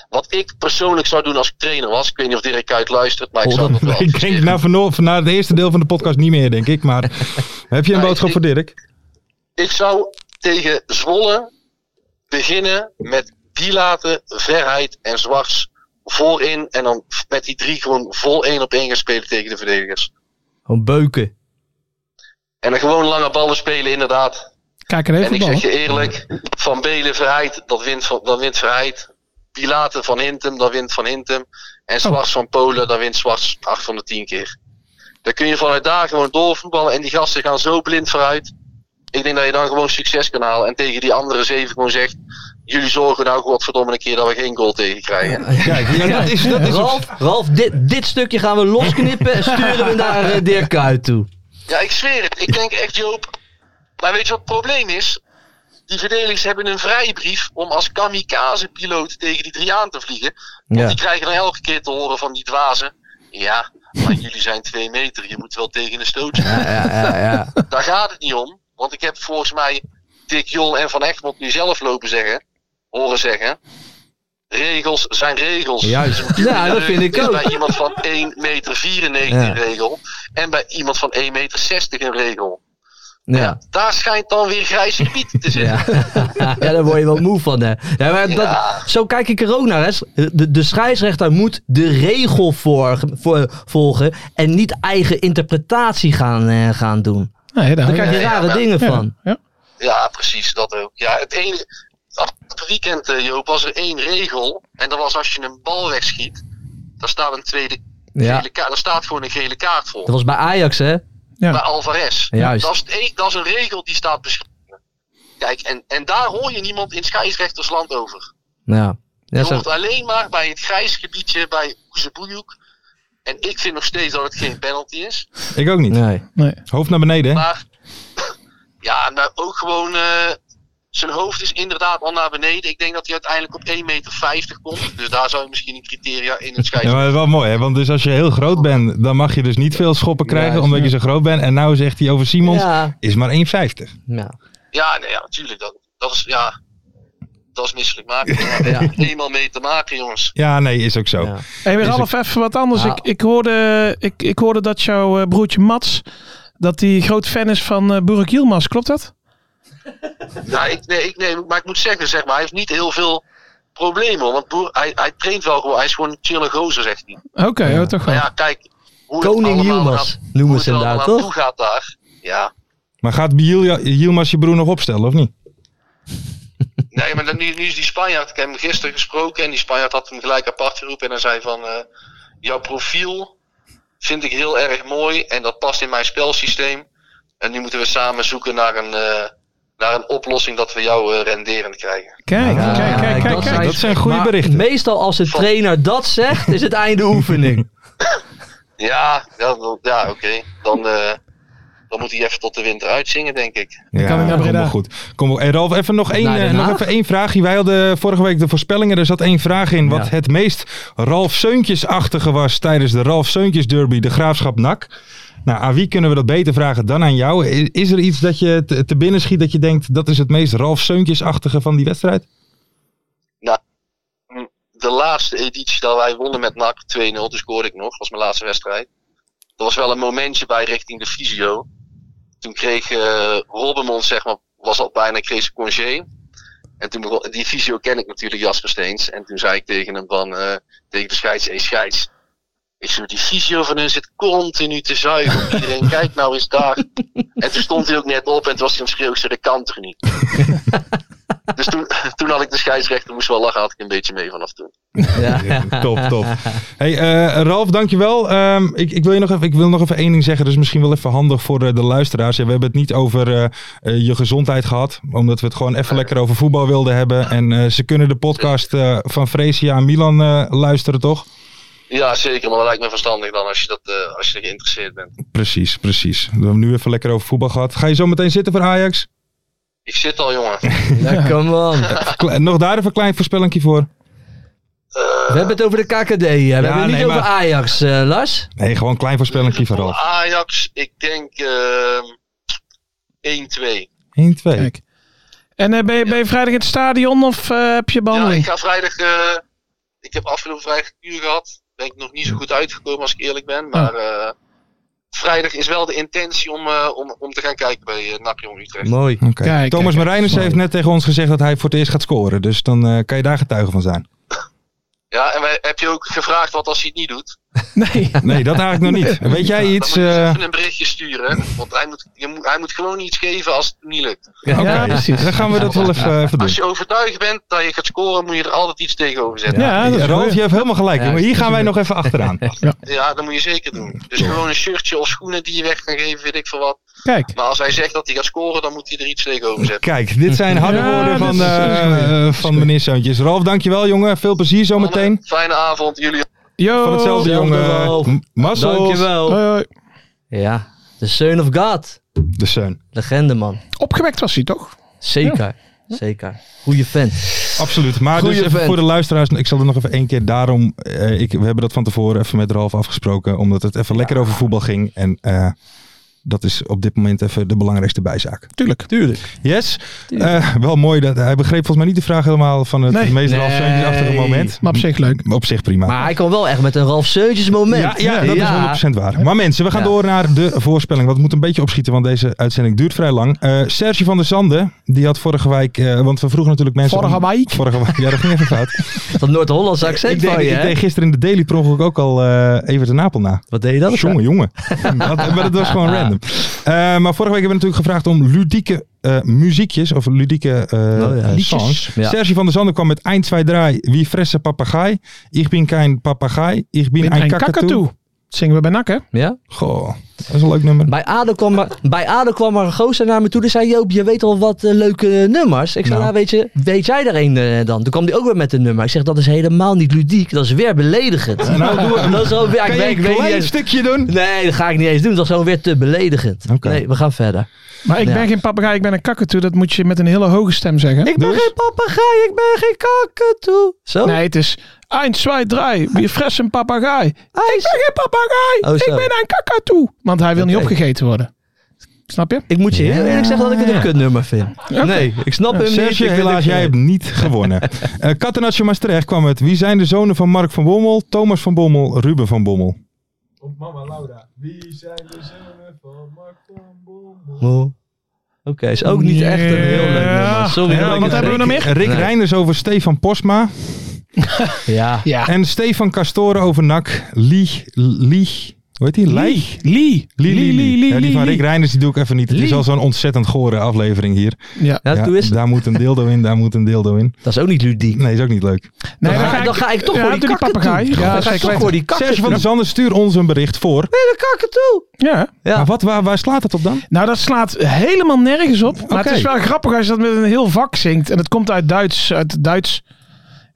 wat ik persoonlijk zou doen als ik trainer was. Ik weet niet of Dirk Kuyt luistert, maar ik
Oh,
zou
dat-
dat
Ik
wel
denk nou-
adviseren.
na, vanaf, na het eerste deel van de podcast niet meer, denk ik. Maar heb je een
ik
boodschap
denk-
voor Dirk?
Ik zou tegen Zwolle beginnen met Dilaten, Verheid en Zwarts voorin. En dan met die drie gewoon vol één op één gaan spelen tegen de verdedigers.
Gewoon beuken.
En dan gewoon lange ballen spelen, inderdaad.
kijk er even
En ik
voetballen.
zeg je eerlijk, Van Belen, Verheid, dat wint, van, dat wint Verheid. Pilaten van Hintem, dat wint Van Hintem. En Zwarts van Polen, dat wint Zwarts 8 van de 10 keer. Dan kun je vanuit daar gewoon doorvoetballen. En die gasten gaan zo blind vooruit. Ik denk dat je dan gewoon succes kan halen. En tegen die andere zeven gewoon zegt... jullie zorgen nou godverdomme een keer dat we geen goal tegen krijgen.
Kijk, dat is, dat is Ralf, Ralf dit, dit stukje gaan we losknippen en sturen we naar eh, Dirk uit toe.
Ja, ik zweer het. Ik denk echt, Joop. Maar weet je wat het probleem is? Die verdedigers hebben een vrijbrief om als kamikaze-piloot tegen die drie aan te vliegen. Want
Ja.
die krijgen dan elke keer te horen van die dwazen. Ja, maar jullie zijn twee meter. Je moet wel tegen een stootje.
Ja, ja, ja.
Daar gaat het niet om. Want ik heb volgens mij Dick Jol en Van Egmond nu zelf lopen zeggen. Horen zeggen. Regels zijn regels.
Juist.
Dus een
Ja, dat vind ik
is
ook.
Bij iemand van 1,94 meter
Ja.
een regel. En bij iemand van 1,60 meter een regel.
Ja.
Daar schijnt dan weer grijze piet te zitten.
Ja. ja, daar word je wel moe van. Hè. Ja, maar dat, Zo kijk ik er ook naar. Hè. De, de scheidsrechter moet de regel voor, voor- volgen en niet eigen interpretatie gaan, eh, gaan doen.
Nee, daar
Dan krijg je
Ja, ja,
rare
ja.
dingen
Ja,
van.
ja.
Ja, precies, dat ook. Ja, het ene, afgelopen weekend, eh, Joop, was er één regel. En dat was als je een bal wegschiet, dan staat een tweede
Ja.
gele kaart. Daar staat gewoon een gele kaart voor.
Dat was bij Ajax, hè?
Bij Alvarez.
Juist.
Dat, is het e- dat is een regel die staat beschreven. Kijk, en, en daar hoor je niemand in scheidsrechtersland over.
Ja.
Je
Ja, zo-
hoort alleen maar bij het grijs gebiedje bij Oezeboejoek. En ik vind nog steeds dat het geen penalty is.
Ik ook niet.
Nee.
Hoofd naar beneden. hè?
Maar ja, maar ook gewoon. eh, zijn hoofd is inderdaad al naar beneden. Ik denk dat hij uiteindelijk op 1,50 meter komt. Dus daar zou je misschien een criteria in het
Ja,
scheidsrechter.
maar dat is wel mooi, hè? Want dus als je heel groot bent, dan mag je dus niet veel schoppen krijgen omdat je zo groot bent. En nou zegt hij over Simons,
Ja.
is maar 1,50.
Ja.
Ja, nee, ja, natuurlijk. Dat, dat is. Ja, dat is misselijk maken. Daar
Ja.
heeft eenmaal mee te maken, jongens.
Ja, nee, is ook zo.
Ja.
Hey, weer
Is
Ralf, even wat anders.
Ja.
Ik, ik, hoorde, ik, ik hoorde dat jouw eh, broertje Mats, dat hij groot fan is van eh Burak Yilmaz. Klopt dat?
Nou, ik, nee, ik, nee, maar ik moet zeggen, zeg maar, hij heeft niet heel veel problemen. hoor. Want broer, hij, hij traint wel gewoon. Hij is gewoon een chille gozer, zegt hij.
Oké, oh, toch wel.
Maar ja, kijk. Hoe het
Koning
allemaal
Yilmaz
gaat-
noemen
hoe het
ze hem daar,
allemaal aan
toch?
toe gaat daar. Ja.
Maar gaat Biel- Yilmaz je broer nog opstellen, of niet?
Nee, maar dan, nu, nu is die Spanjaard. Ik heb hem gisteren gesproken en die Spanjaard had hem gelijk apart geroepen. En hij zei van, eh, jouw profiel vind ik heel erg mooi en dat past in mijn spelsysteem. En nu moeten we samen zoeken naar een, eh, naar een oplossing dat we jou eh, renderend krijgen.
Kijk, kijk, kijk, kijk. kijk.
dat zijn goede
maar
berichten.
Meestal als de trainer dat zegt, is het einde oefening.
Ja, ja, wel- ja oké. Dan, eh, dan moet hij even tot de winter uitzingen, denk ik.
Ja,
kan ik naar
kom
Breda.
maar goed. Kom, op. en Ralf, even nog één,
Naar Den
eh, nog
Haag?
even één vraagje. Wij hadden vorige week de voorspellingen. Er zat één vraag in wat
Ja.
het meest Ralf Seuntjes-achtige was tijdens de Ralf Seuntjes Derby, de Graafschap NAC. Nou, aan wie kunnen we dat beter vragen dan aan jou? I- Is er iets dat je te, te binnen schiet dat je denkt dat is het meest Ralf Seuntjes-achtige van die wedstrijd?
De laatste editie dat wij wonnen met NAC 2-0, dus scoorde ik nog, was mijn laatste wedstrijd. Er was wel een momentje bij richting de fysio. Toen kreeg eh Robbenmond, zeg maar, was al bijna, kreeg zijn congé. En toen begon, die fysio ken ik natuurlijk, Jasper Steens. En toen zei ik tegen hem van, eh, tegen de scheids, hey scheids. Ik zo, die fysio van hun zit continu te zuigen op iedereen. Kijk nou eens daar. En toen stond hij ook net op en toen was hij aan het schreeuwen, ik zei, dat kan toch niet. dus toen, toen had ik de scheidsrechter, moest wel lachen, had ik een beetje mee vanaf toen.
top, top. Hey, eh Ralf, dankjewel. Ehm ik, ik, wil je nog even, ik wil nog even één ding zeggen. Dus misschien wel even handig voor eh, de luisteraars. Ja, we hebben het niet over eh, eh, je gezondheid gehad. Omdat we het gewoon even lekker over voetbal wilden hebben. En eh, ze kunnen de podcast eh, van Fresia en Milan eh, luisteren, toch?
Ja, zeker, maar dat lijkt me verstandig dan als je, dat, eh, als je er geïnteresseerd bent.
Precies, precies. We hebben nu even lekker over voetbal gehad. Ga je zo meteen zitten voor Ajax?
Ik zit al, jongen.
Ja, come on.
Kle- nog daar even een klein voorspellingje voor.
Eh,
We hebben het over de KKD. hè. We hebben het niet
nee,
over
maar-
Ajax, eh, Lars.
Nee, gewoon een klein voorspellingje voor Ralf.
Ajax, ik denk ehm 1-2.
1, 2.
Kijk. En eh, ben, je, ben je vrijdag in het stadion of eh, heb je
Ja, ik
behandeling?
ga vrijdag. eh, ik heb afgelopen vrijdag een uur gehad. Ben ik nog niet zo goed uitgekomen als ik eerlijk ben. Maar eh, vrijdag is wel de intentie om, eh, om, om te gaan kijken bij eh, NAC Jong Utrecht.
Mooi.
Oké.
Kijk,
Thomas
kijk,
Marijnus heeft net tegen ons gezegd dat hij voor het eerst gaat scoren. Dus dan eh, kan je daar getuige van zijn.
Ja, en wij, heb je ook gevraagd wat als hij het niet doet?
Nee.
Nee, dat eigenlijk nog niet. Weet jij iets?
Dan moet je
eh,
even een berichtje sturen. Want hij moet, je moet, hij moet gewoon iets geven als het niet lukt.
Oké, Dan gaan we dat wel even, eh, even doen.
Als je overtuigd bent dat je gaat scoren, moet je er altijd iets tegenover zetten.
Ja, dat is Ralf, je hebt helemaal gelijk.
Ja,
jongen.
dat
Hier
is
gaan wij
wel.
nog even achteraan.
Ja, dat moet je zeker doen. Dus gewoon een shirtje of schoenen die je weg kan geven, weet ik veel wat.
Kijk.
Maar als hij zegt dat hij gaat scoren, dan moet hij er iets tegenover zetten.
Kijk, dit zijn harde
Ja,
woorden
dit
van,
is-
eh, eh, van meneer Zoontjes. Ralf, dankjewel jongen. Veel plezier zometeen.
Fijne avond, jullie. Oh,
Van hetzelfde
Ralf.
jongen. Mazzel.
Dankjewel. Hoi,
eh,
Ja, de Son of God.
De Son.
Legende, man.
Opgewekt was hij toch?
Zeker, zeker. Goeie fan.
Absoluut. Maar
Goeie
dus even
vent.
voor de luisteraars, ik zal er nog even één keer daarom. eh, ik, we hebben dat van tevoren even met Ralf afgesproken, omdat het even lekker over voetbal ging. En eh, dat is op dit moment even de belangrijkste bijzaak.
Tuurlijk.
Tuurlijk. Yes. Eh, wel mooi dat hij begreep volgens mij niet de vraag helemaal van het
Nee.
meest
Nee.
Ralf Zeuntjesachtige moment.
Maar op zich leuk.
Op zich prima.
Maar hij kwam wel echt met een Ralf Seuntjes moment.
Ja, ja, dat is 100% waar. Maar mensen, we gaan door naar de voorspelling. Want we moeten een beetje opschieten, want deze uitzending duurt vrij lang. Eh Serge van der Sande, die had vorige week... eh, want we vroegen natuurlijk mensen...
Vorige
om-
week?
Vorige week, ja, dat ging even fout.
Dat Noord-Hollandse accent
ik, deed,
van je,
ik
hè?
deed gisteren in de Daily per ongeluk ook al eh even de Napel na.
Wat deed je dan?
Jongen, jongen. dat, maar dat was gewoon random. Eh, maar vorige week hebben we natuurlijk gevraagd om ludieke eh, muziekjes of ludieke eh,
Oh ja,
liedjes.
songs. Ja.
Sergi van der Zanden kwam met Eind zwei drei, wie fresse papagai. Ik ben kein papagai, ik ben
Een
ein
kakatoe.
kakatoe.
Dat zingen we bij NAC, hè?
Ja?
Goh, dat is een leuk nummer.
Bij Ado kwam er, bij Ado kwam er een gozer naar me toe. Die zei, Joop, je weet al wat eh, leuke eh, nummers. Ik zei,
Nou.
nou weet je, weet jij er een eh, dan? Toen kwam die ook weer met een nummer. Ik zeg, dat is helemaal niet ludiek. Dat is weer beledigend.
Nou, doe het.
dat is gewoon weer,
Kan
ik,
je
weet-
een
ik weet niet
klein
eens-
stukje doen?
Nee, dat ga ik niet eens doen. Dat is gewoon weer te beledigend.
Oké.
Nee, we gaan verder.
Maar ik
Ja.
ben geen papegaai, ik ben een kakatoe. Dat moet je met een hele hoge stem zeggen. Dus-
Ik ben geen papegaai, ik ben geen kakatoe. Zo?
Nee, het is 1, 2, 3. Wie fres een papegaai? Ik ben geen
Oh,
papegaai.
zo.
ik ben een kakatoe. Want hij wil niet
Oké.
opgegeten worden. Snap je?
Ik moet je heel eerlijk zeggen dat ik het een kutnummer vind. Nee, ik snap hem niet.
Sergio,
ik vind
helaas,
het-
jij hebt niet gewonnen. Eh Catenaccio Maastricht kwam het. Wie zijn de zonen van Mark van Bommel, Thomas van Bommel, Ruben van Bommel?
Mama Laura, wie zijn de zonen van Mark van Bommel?
Oeh. Oké, is ook niet echt een heel leuk nummer. Sorry. dat ik
wat
het
hebben we nog
zeg.
meer?
Rick
Nee.
Reinders over Stefan Posma.
Ja.
Ja.
En Stefan Castore over NAC. Lie. Lie. Hoe heet die? Lie.
Lee.
Lie, Lie, Lie.
Lee,
Ja, die
Lie,
van Rick
Lie.
Reinders die doe ik even niet. Het is
Lie.
al zo'n ontzettend gore aflevering hier.
Ja.
Ja,
Ja,
doe eens.
daar moet een dildo in, daar moet een dildo in.
Dat is ook niet ludiek.
Nee, is ook niet leuk.
Nee,
dan, ga, dan ga ik toch
ja,
voor die
doe
kakken
papegaai.
toe.
Ja,
dan ga ik
zeker
toch voor die kakken
Serge van
toe.
der Zanden, stuur ons een bericht voor.
Nee, de kakken toe.
Ja.
Ja.
Maar wat, waar, waar slaat het op dan?
Nou, dat slaat helemaal nergens op. Maar
Oké.
het is wel grappig als je dat met een heel vak zingt. En het komt uit Duits. Uit het Duits.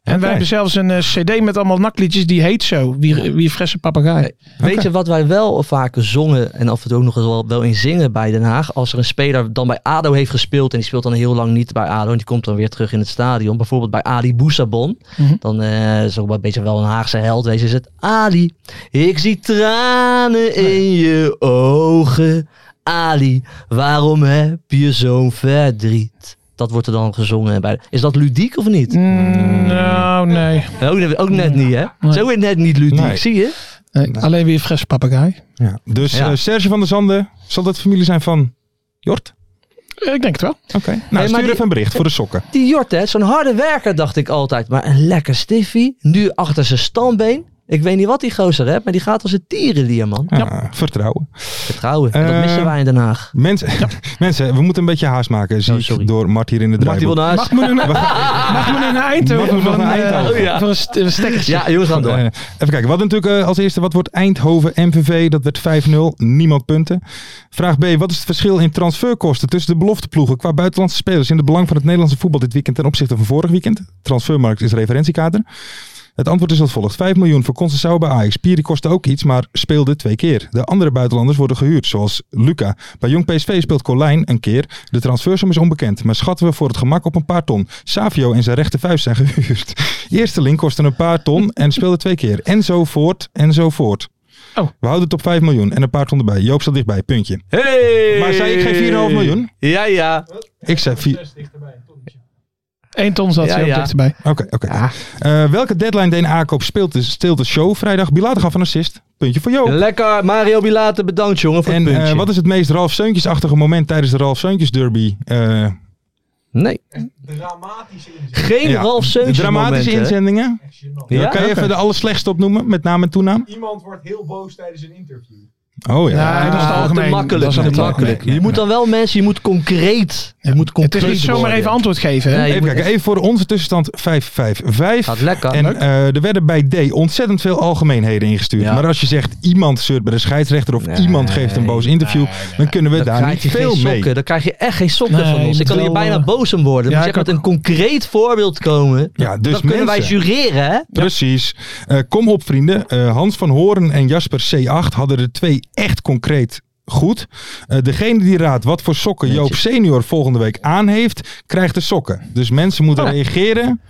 En
Oké.
wij hebben zelfs een eh, cd met allemaal nakliedjes. Die heet zo. Wie, wie fresse papegaai.
Weet je wat wij wel vaker zongen en af en toe ook nog eens wel, wel in zingen bij Den Haag? Als er een speler dan bij ADO heeft gespeeld en die speelt dan heel lang niet bij ADO en die komt dan weer terug in het stadion. Bijvoorbeeld bij Ali Boussabon.
Mhm.
Dan eh, is ook wel een beetje wel een Haagse held. Wees is het Ali, ik zie tranen in je ogen. Ali, waarom heb je zo'n verdriet? Dat wordt er dan gezongen. Bij is dat ludiek of niet?
Mm, nou, nee.
Eh, Ook, net- ook net niet, hè?
Nee.
Zo net niet ludiek,
Nee.
zie je?
Nee, Eh, Alleen weer fresse papegaai.
Ja. Dus
Ja.
eh, Serge van der Zanden, zal dat familie zijn van Jort?
Eh, Ik denk het wel.
Oké. Nou, stuur
die-
even een bericht voor de sokken.
Die Jort, hè, zo'n harde werker, dacht ik altijd. Maar een lekker stiffie. Nu achter zijn standbeen. Ik weet niet wat die gozer hebt, maar die gaat als een tierenlier, man.
Ah, vertrouwen.
Vertrouwen. En dat
Eh,
missen wij in Den Haag.
Mensen, mensen, we moeten een beetje haast maken, zie
Oh,
ik
sorry.
door Mart hier in de
Mag die wel
draaiboek.
naar huis?
Mag men een, mag men
Mag
een
men
Eindhoven voor
nog
een,
naar
eh,
Eindhoven?
Oh, ja.
voor een st- een stekkertje?
Ja, jongens, gaan
Eh,
door.
even kijken, wat natuurlijk eh, als eerste, wat wordt Eindhoven MVV? Dat werd 5-0, niemand punten. Vraag B, wat is het verschil in transferkosten tussen de belofteploegen qua buitenlandse spelers in het belang van het Nederlandse voetbal dit weekend ten opzichte van vorig weekend? Transfermarkt is referentiekader. Het antwoord is als volgt. 5 miljoen voor Concecao bij Ajax. Piri kostte ook iets, maar speelde twee keer. De andere buitenlanders worden gehuurd, zoals Luca. Bij Jong PSV speelt Colijn een keer. De transfersom is onbekend, maar schatten we voor het gemak op een paar ton. Savio en zijn rechtervuist zijn gehuurd. Eersteling kostte een paar ton en speelde twee keer. En zo voort, en zo voort.
Oh.
We houden het op 5 miljoen en een paar ton erbij. Joop staat dichtbij, puntje.
Hey!
Maar zei ik geen 4,5 miljoen?
Ja, ja.
Ik zei 4...
Eén ton zat
Ja,
ze heel
ja.
dichterbij.
Oké, oké. Eh, welke deadline deed aankoop speelt de, stilt de show vrijdag? Bilater gaf een assist. Puntje voor
Eh,
Joop.
Lekker. Mario Bilate, bedankt, jongen, voor
Oh. En
het puntje.
eh, wat is het meest Ralf Seuntjes-achtige moment tijdens de Ralf Seuntjes derby? Eh,
Nee.
Dramatische
Geen Ralf Seuntje
Dramatische
momenten, hè?
inzendingen.
Ja?
Dan kan je
Oké.
even de allerslechtste opnoemen, met naam en toenaam.
Iemand wordt heel boos tijdens een interview.
Oh ja.
dat is het algemeen.
Ah, Te makkelijk.
Dat is
te
het algemeen.
makkelijk. je moet dan wel mensen, je moet concreet. Je moet
Het
concreet
is niet zomaar
worden.
even antwoord geven. Hè?
Nee, je
Even
moet
kijken,
echt-
even voor onze tussenstand 555.
Gaat lekker.
En eh, er werden bij D ontzettend veel algemeenheden ingestuurd.
Ja.
Maar als je zegt iemand zeurt bij de scheidsrechter of iemand geeft een boos interview, dan kunnen we
Dan
daar
krijg
niet
je geen
veel mee.
sokken. Dan krijg je echt geen sokken
Nee,
van
je
ons. Ik
moet
kan hier
wel,
bijna
eh,
boos om worden.
ja,
Moet je
ik
echt met een concreet voorbeeld komen.
Ja, dus
dan kunnen wij
mensen.
jureren, hè?
Precies. Eh, kom op, vrienden. Eh, Hans van Horen en Jasper C8 hadden er twee echt concreet goed. Eh, degene die raadt wat voor sokken Joop Senior volgende week aan heeft, krijgt de sokken. Dus mensen moeten reageren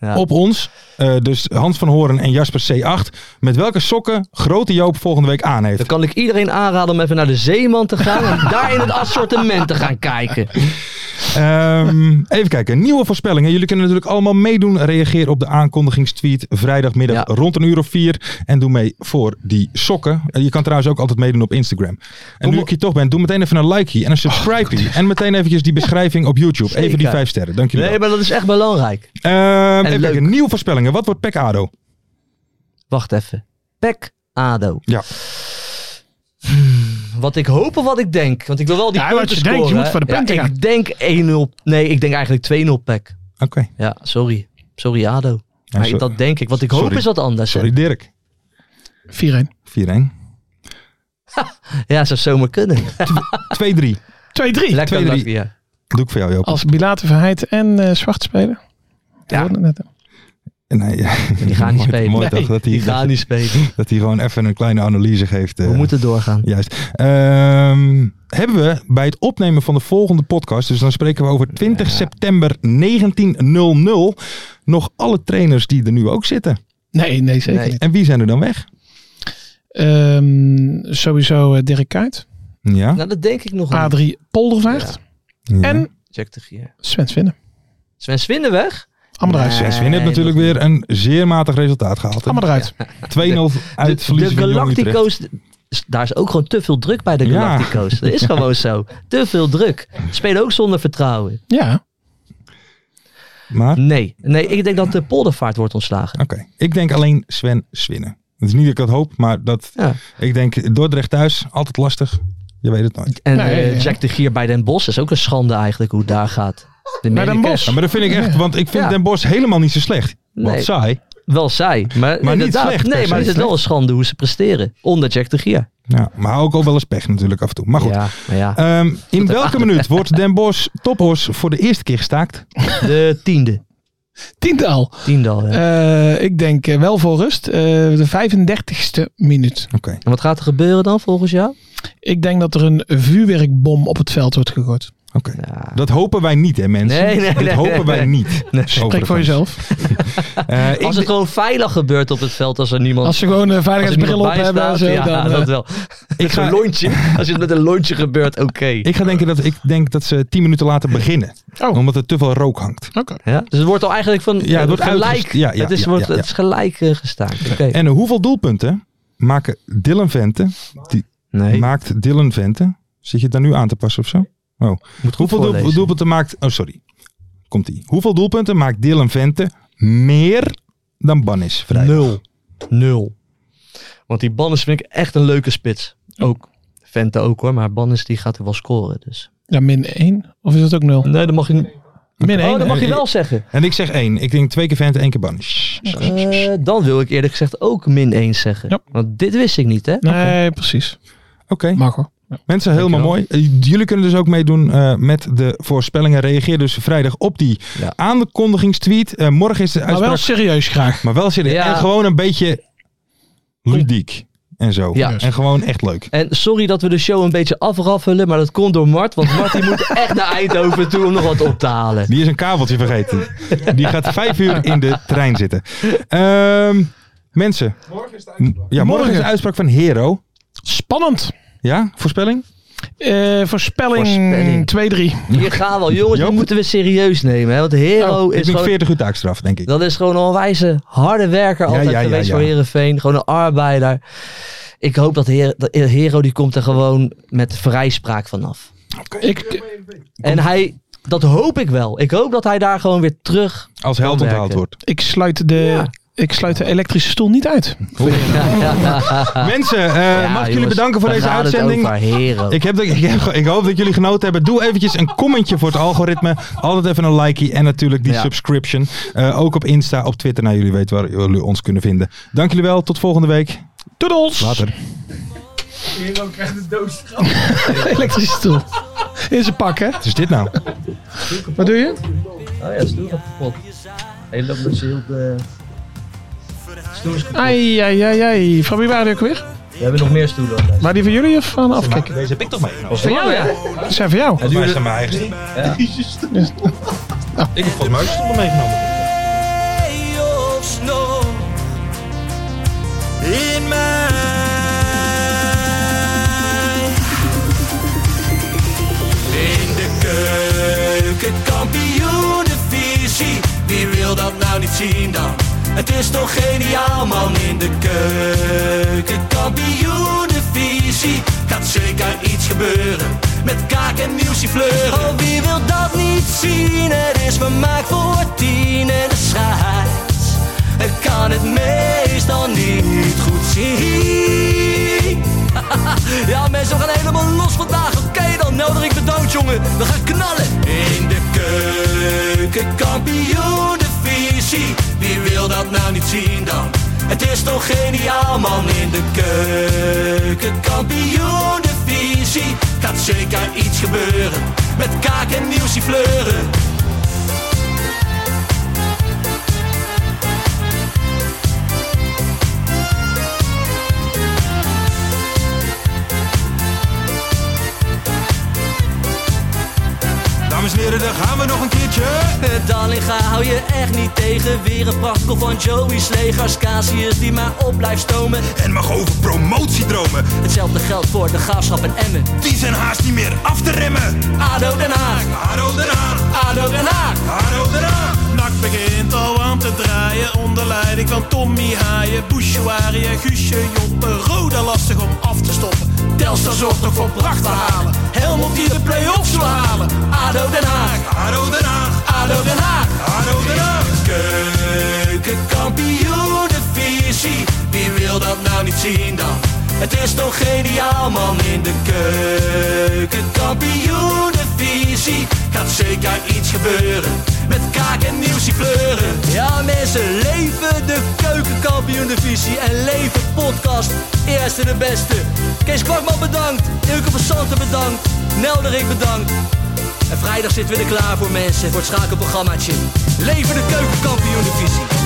Ja.
op ons. Eh, dus Hans van Horen en Jasper C8. Met welke sokken grote Joop volgende week aan heeft.
Dan kan ik iedereen aanraden om even naar de Zeeman te gaan en daar in het assortiment te gaan kijken.
Ehm, even kijken. Nieuwe voorspellingen. Jullie kunnen natuurlijk allemaal meedoen. Reageer op de aankondigingstweet vrijdagmiddag
Ja.
rond een uur of vier. En doe mee voor die sokken. En Je kan trouwens ook altijd meedoen op Instagram. En nu ik hier toch ben, doe meteen even een likeje en een subscribe. en meteen eventjes die beschrijving op YouTube. Even die
Oh, Zeker.
vijf sterren. Dank jullie wel.
Nee, maar dat is echt belangrijk.
Ehm, even
leuk.
kijken. Nieuwe voorspellingen. Wat wordt Pek Ado?
Wacht even. Pek Ado. Hmm,
Ja.
Wat ik hoop of wat ik denk. Want ik wil wel die
Ja, wat
punten
je
scoren.
denkt, je moet
hè.
voor de punten
ja,
gaan.
Ik denk 1-0. Nee, ik denk eigenlijk 2-0 Pek.
Oké.
Ja, sorry. Sorry Ado. Maar
sorry.
dat denk ik. Wat ik hoop
Sorry.
is wat anders. hè.
Sorry Dirk.
4-1.
4-1.
Ja, zou zomaar kunnen.
2-3.
2-3.
Lekker
Twee, drie.
lucky, ja.
Doe ik voor jou Joop.
Als Bilate Verheid en eh Zwart spelen.
Ja.
Ja. Net, hè.
Nee,
Die gaan niet
Mooi-
spelen.
Mooi
Nee,
toch dat
die gaan
hij,
niet spelen.
dat hij gewoon even een kleine analyse geeft. eh.
We moeten doorgaan.
Juist. Ehm, hebben we bij het opnemen van de volgende podcast, dus dan spreken we over 20 september 1900, nog alle trainers die er nu ook zitten.
Nee, nee, zeker
Nee.
niet.
En wie zijn er dan weg?
Ehm, sowieso eh, Dirk Kuyt.
Ja.
Nou, dat denk ik nog niet.
Adrie Poldervaart.
ja.
En
Jack de Gier.
Sven Svinnen.
Sven Swindenweg?
Allemaal eruit.
Nee.
Sven Swin heeft natuurlijk
nog
weer een zeer matig resultaat gehaald. hè?
Allemaal eruit.
2-0
De,
uit verliezen
de
van Jong Utrecht.
Galactico's... s- Daar is ook gewoon te veel druk bij de
Ja.
Galactico's. Dat is gewoon zo. Te veel druk. Spelen ook zonder vertrouwen.
Ja.
Maar, oké.
Nee. Nee, ik denk dat de poldervaart wordt ontslagen.
Ik denk alleen Sven Swinnen. Het is niet dat ik dat hoop, maar dat,
Ja.
ik denk Dordrecht thuis, altijd lastig. Je weet het nooit.
En
Nee,
eh,
ja.
Jack de Gier bij Den Bos is ook een schande eigenlijk hoe het daar gaat. De
Bij Den
medicus-
Bosch.
Ja, maar dat vind ik echt, want ik vind
Ja.
Den Bosch helemaal niet zo slecht. Wat
Nee.
saai.
Wel zij. Maar,
niet
inderdaad,
slecht, per
Nee,
se.
maar het is wel een schande hoe ze presteren. Onder Jack de Gier.
Ja, maar ook al wel eens pech natuurlijk af en toe. Maar goed.
Ja, maar ja.
Ehm, in welke minuut wordt Den Bosch tophors voor de eerste keer gestaakt?
De tiende.
Tiental.
Tiendal, ja.
Eh, ik denk eh, wel voor rust. eh, de 35ste minuut.
Oké.
En wat gaat er gebeuren dan volgens jou?
Ik denk dat er een vuurwerkbom op het veld wordt gegooid.
oké.
Ja.
Dat hopen wij niet, hè mensen?
Nee, nee,
Dat
nee,
hopen
nee,
wij
nee.
niet.
Spreek
Overigens.
voor jezelf.
Eh, ik
Als het gewoon veilig gebeurt op het veld, als er niemand...
Als ze gewoon
als
een
er
veiligheidsbril
niemand
op
bij
hebben. en
staat,
zo,
ja,
dan, eh,
dat wel. Ik
ga-
ga lontje. Als het met een lontje gebeurt, oké.
ik ga denken dat, ik denk dat ze tien minuten later beginnen.
Oh.
Omdat er te veel rook hangt.
eh, Oké.
Ja? Dus het wordt al eigenlijk van
Ja, het wordt
gelijk.
uitgest- ja, ja,
het, is,
ja,
wordt,
ja,
het is gelijk eh, gestaakt. Oké.
En hoeveel doelpunten maken Dylan Vente? Die
Nee,
Maakt Dylan Vente? Zit je het daar nu aan te passen of zo? Oh.
moet goed
Hoeveel doel-
voorlezen.
doelpunten maakt... Oh, sorry. Komt-ie. Hoeveel doelpunten maakt Dylan Vente meer dan Bannis vrijdag?
Nul. Nul. Want die Bannes vind ik echt een leuke spits. Ook. Vente ook hoor, maar Bannes die gaat er wel scoren. Dus.
Ja, min 1. Of is dat ook 0?
Nee, dat mag je,
Min 1.
oh, dat mag je
eh,
wel zeggen.
En ik zeg één. Ik denk twee keer Vente, één keer Bannis.
Eh, dan wil ik eerlijk gezegd ook min 1 zeggen.
Ja.
Want dit wist ik niet hè.
Nee, precies.
Oké.
Mag hoor.
Mensen, helemaal mooi. Eh, Jullie kunnen dus ook meedoen eh, met de voorspellingen. Reageer dus vrijdag op die
Ja.
aankondigingstweet. Eh, morgen is de
Maar
uitspraak.
wel serieus graag.
maar wel serieus.
Ja.
En gewoon een beetje ludiek. En zo.
Ja.
En gewoon echt leuk.
En sorry dat we de show een beetje afraffelen, maar dat komt door Mart. Want Mart die moet echt naar Eindhoven toe om nog wat op te halen.
Die is een kabeltje vergeten. Die gaat vijf uur in de trein zitten. Ehm, mensen.
Morgen is het
m- Ja, morgen is de
Morgen.
uitspraak van Hero.
Spannend.
Ja, voorspelling?
Eh, voorspelling,
Voorspelling.
2-3.
Hier gaan we al. Jongens,
Joop? Oh,
die moeten we serieus nemen. Hè? Want Hero
ik
Oh, is
denk
gewoon
40 uur taakstraf, denk ik.
Dat is gewoon een wijze harde werker altijd
ja, ja,
geweest
ja.
voor Herenveen. Gewoon een arbeider. Ik hoop dat, Heer, dat Hero die komt er gewoon met vrijspraak vanaf.
Ik,
En hij Dat hoop ik wel. Ik hoop dat hij daar gewoon weer terug
Als
kan
held
werken.
onthaald wordt.
Ik sluit de, ik sluit de elektrische stoel niet uit.
Mensen, eh, mag ik jullie
jongens,
bedanken voor
daar
deze
gaat het
uitzending.
over, heren.
Ik, heb, dat- ik, heb- ik hoop dat jullie genoten hebben. Doe eventjes een commentje voor het algoritme. Altijd even een likey en natuurlijk die
Ja.
subscription. Eh, ook op Insta, op Twitter. Nou, jullie weten waar jullie ons kunnen vinden. Dank jullie wel. Tot volgende week.
Toedels.
Later.
Hero krijgt een doodstraf.
elektrische stoel. In zijn pak, hè?
Wat is dit nou?
Wat doe je?
Oh ja, stoer gaat kapot. Hij loopt met zijn heel eh, de... Stoer is kapot.
Ai, ai, ai, ai. Van wie waren die ook weer?
We hebben nog meer stoelen. op.
Waren die van jullie of van afkikken?
Deze heb ik toch meegenomen?
Van jou, ja.
Die zijn van jou.
Volgens mij zijn mijn eigen stoelen.
Ja.
Ik heb volgens mij ook stoelen meegenomen.
Hey, of snow in mij.
In de keuken, kampioenenvisie. Wie wil dat nou niet zien dan? Het is toch geniaal man in de keuken, kampioenenvisie. Gaat zeker iets gebeuren met kaak en muziek fleuren. Oh, wie wil dat niet zien? Het is vermaakt voor tien en de scheids. Ik kan het meestal niet goed zien. Ja, mensen, we gaan helemaal los vandaag. Oké, dan nodig ik bedankt, jongen. We gaan knallen. In de keuken, kampioen, de visie. Wie wil dat nou niet zien dan? Het is toch geniaal, man. In de keuken, kampioen, de visie. Gaat zeker iets gebeuren. Met kaak en nieuwsie fleuren.
Dames en heren, daar gaan we nog een keertje.
Eh, Dallinga hou je echt niet tegen. Weer een prachtkel van Joey's legers. Casius die maar op blijft stomen.
En mag over promotiedromen.
Hetzelfde geldt voor de graafschap en Emmen.
Die zijn haast niet meer af te remmen.
ADO Den Haag,
Haro Den Haag,
ADO Den Haag.
Haro Den Haag.
Nak begint al aan te draaien onder leiding van Tommy Haaien, Bouchouari en Guusje Joppen. Roda lastig om af te stoppen. Telstar zorgt nog voor pracht te halen. Helmond die de play-offs wil halen.
ADO Den Haag,
Haro Den Haag,
ADO Den Haag.
Haro Den Haag.
Keukenkampioenenvisie, wie wil dat nou niet zien dan? Het is toch geniaal man in de keukenkampioenenvisie Gaat zeker iets gebeuren, met kaak en nieuwsie kleuren Ja mensen, leven de keukenkampioenenvisie en leven podcast Eerste de beste Kees Kwakman bedankt, Ilke van Santen bedankt, Nelderik bedankt en vrijdag zitten we er klaar voor mensen, voor het schakelprogrammaatje. Leven de keukenkampioen divisie.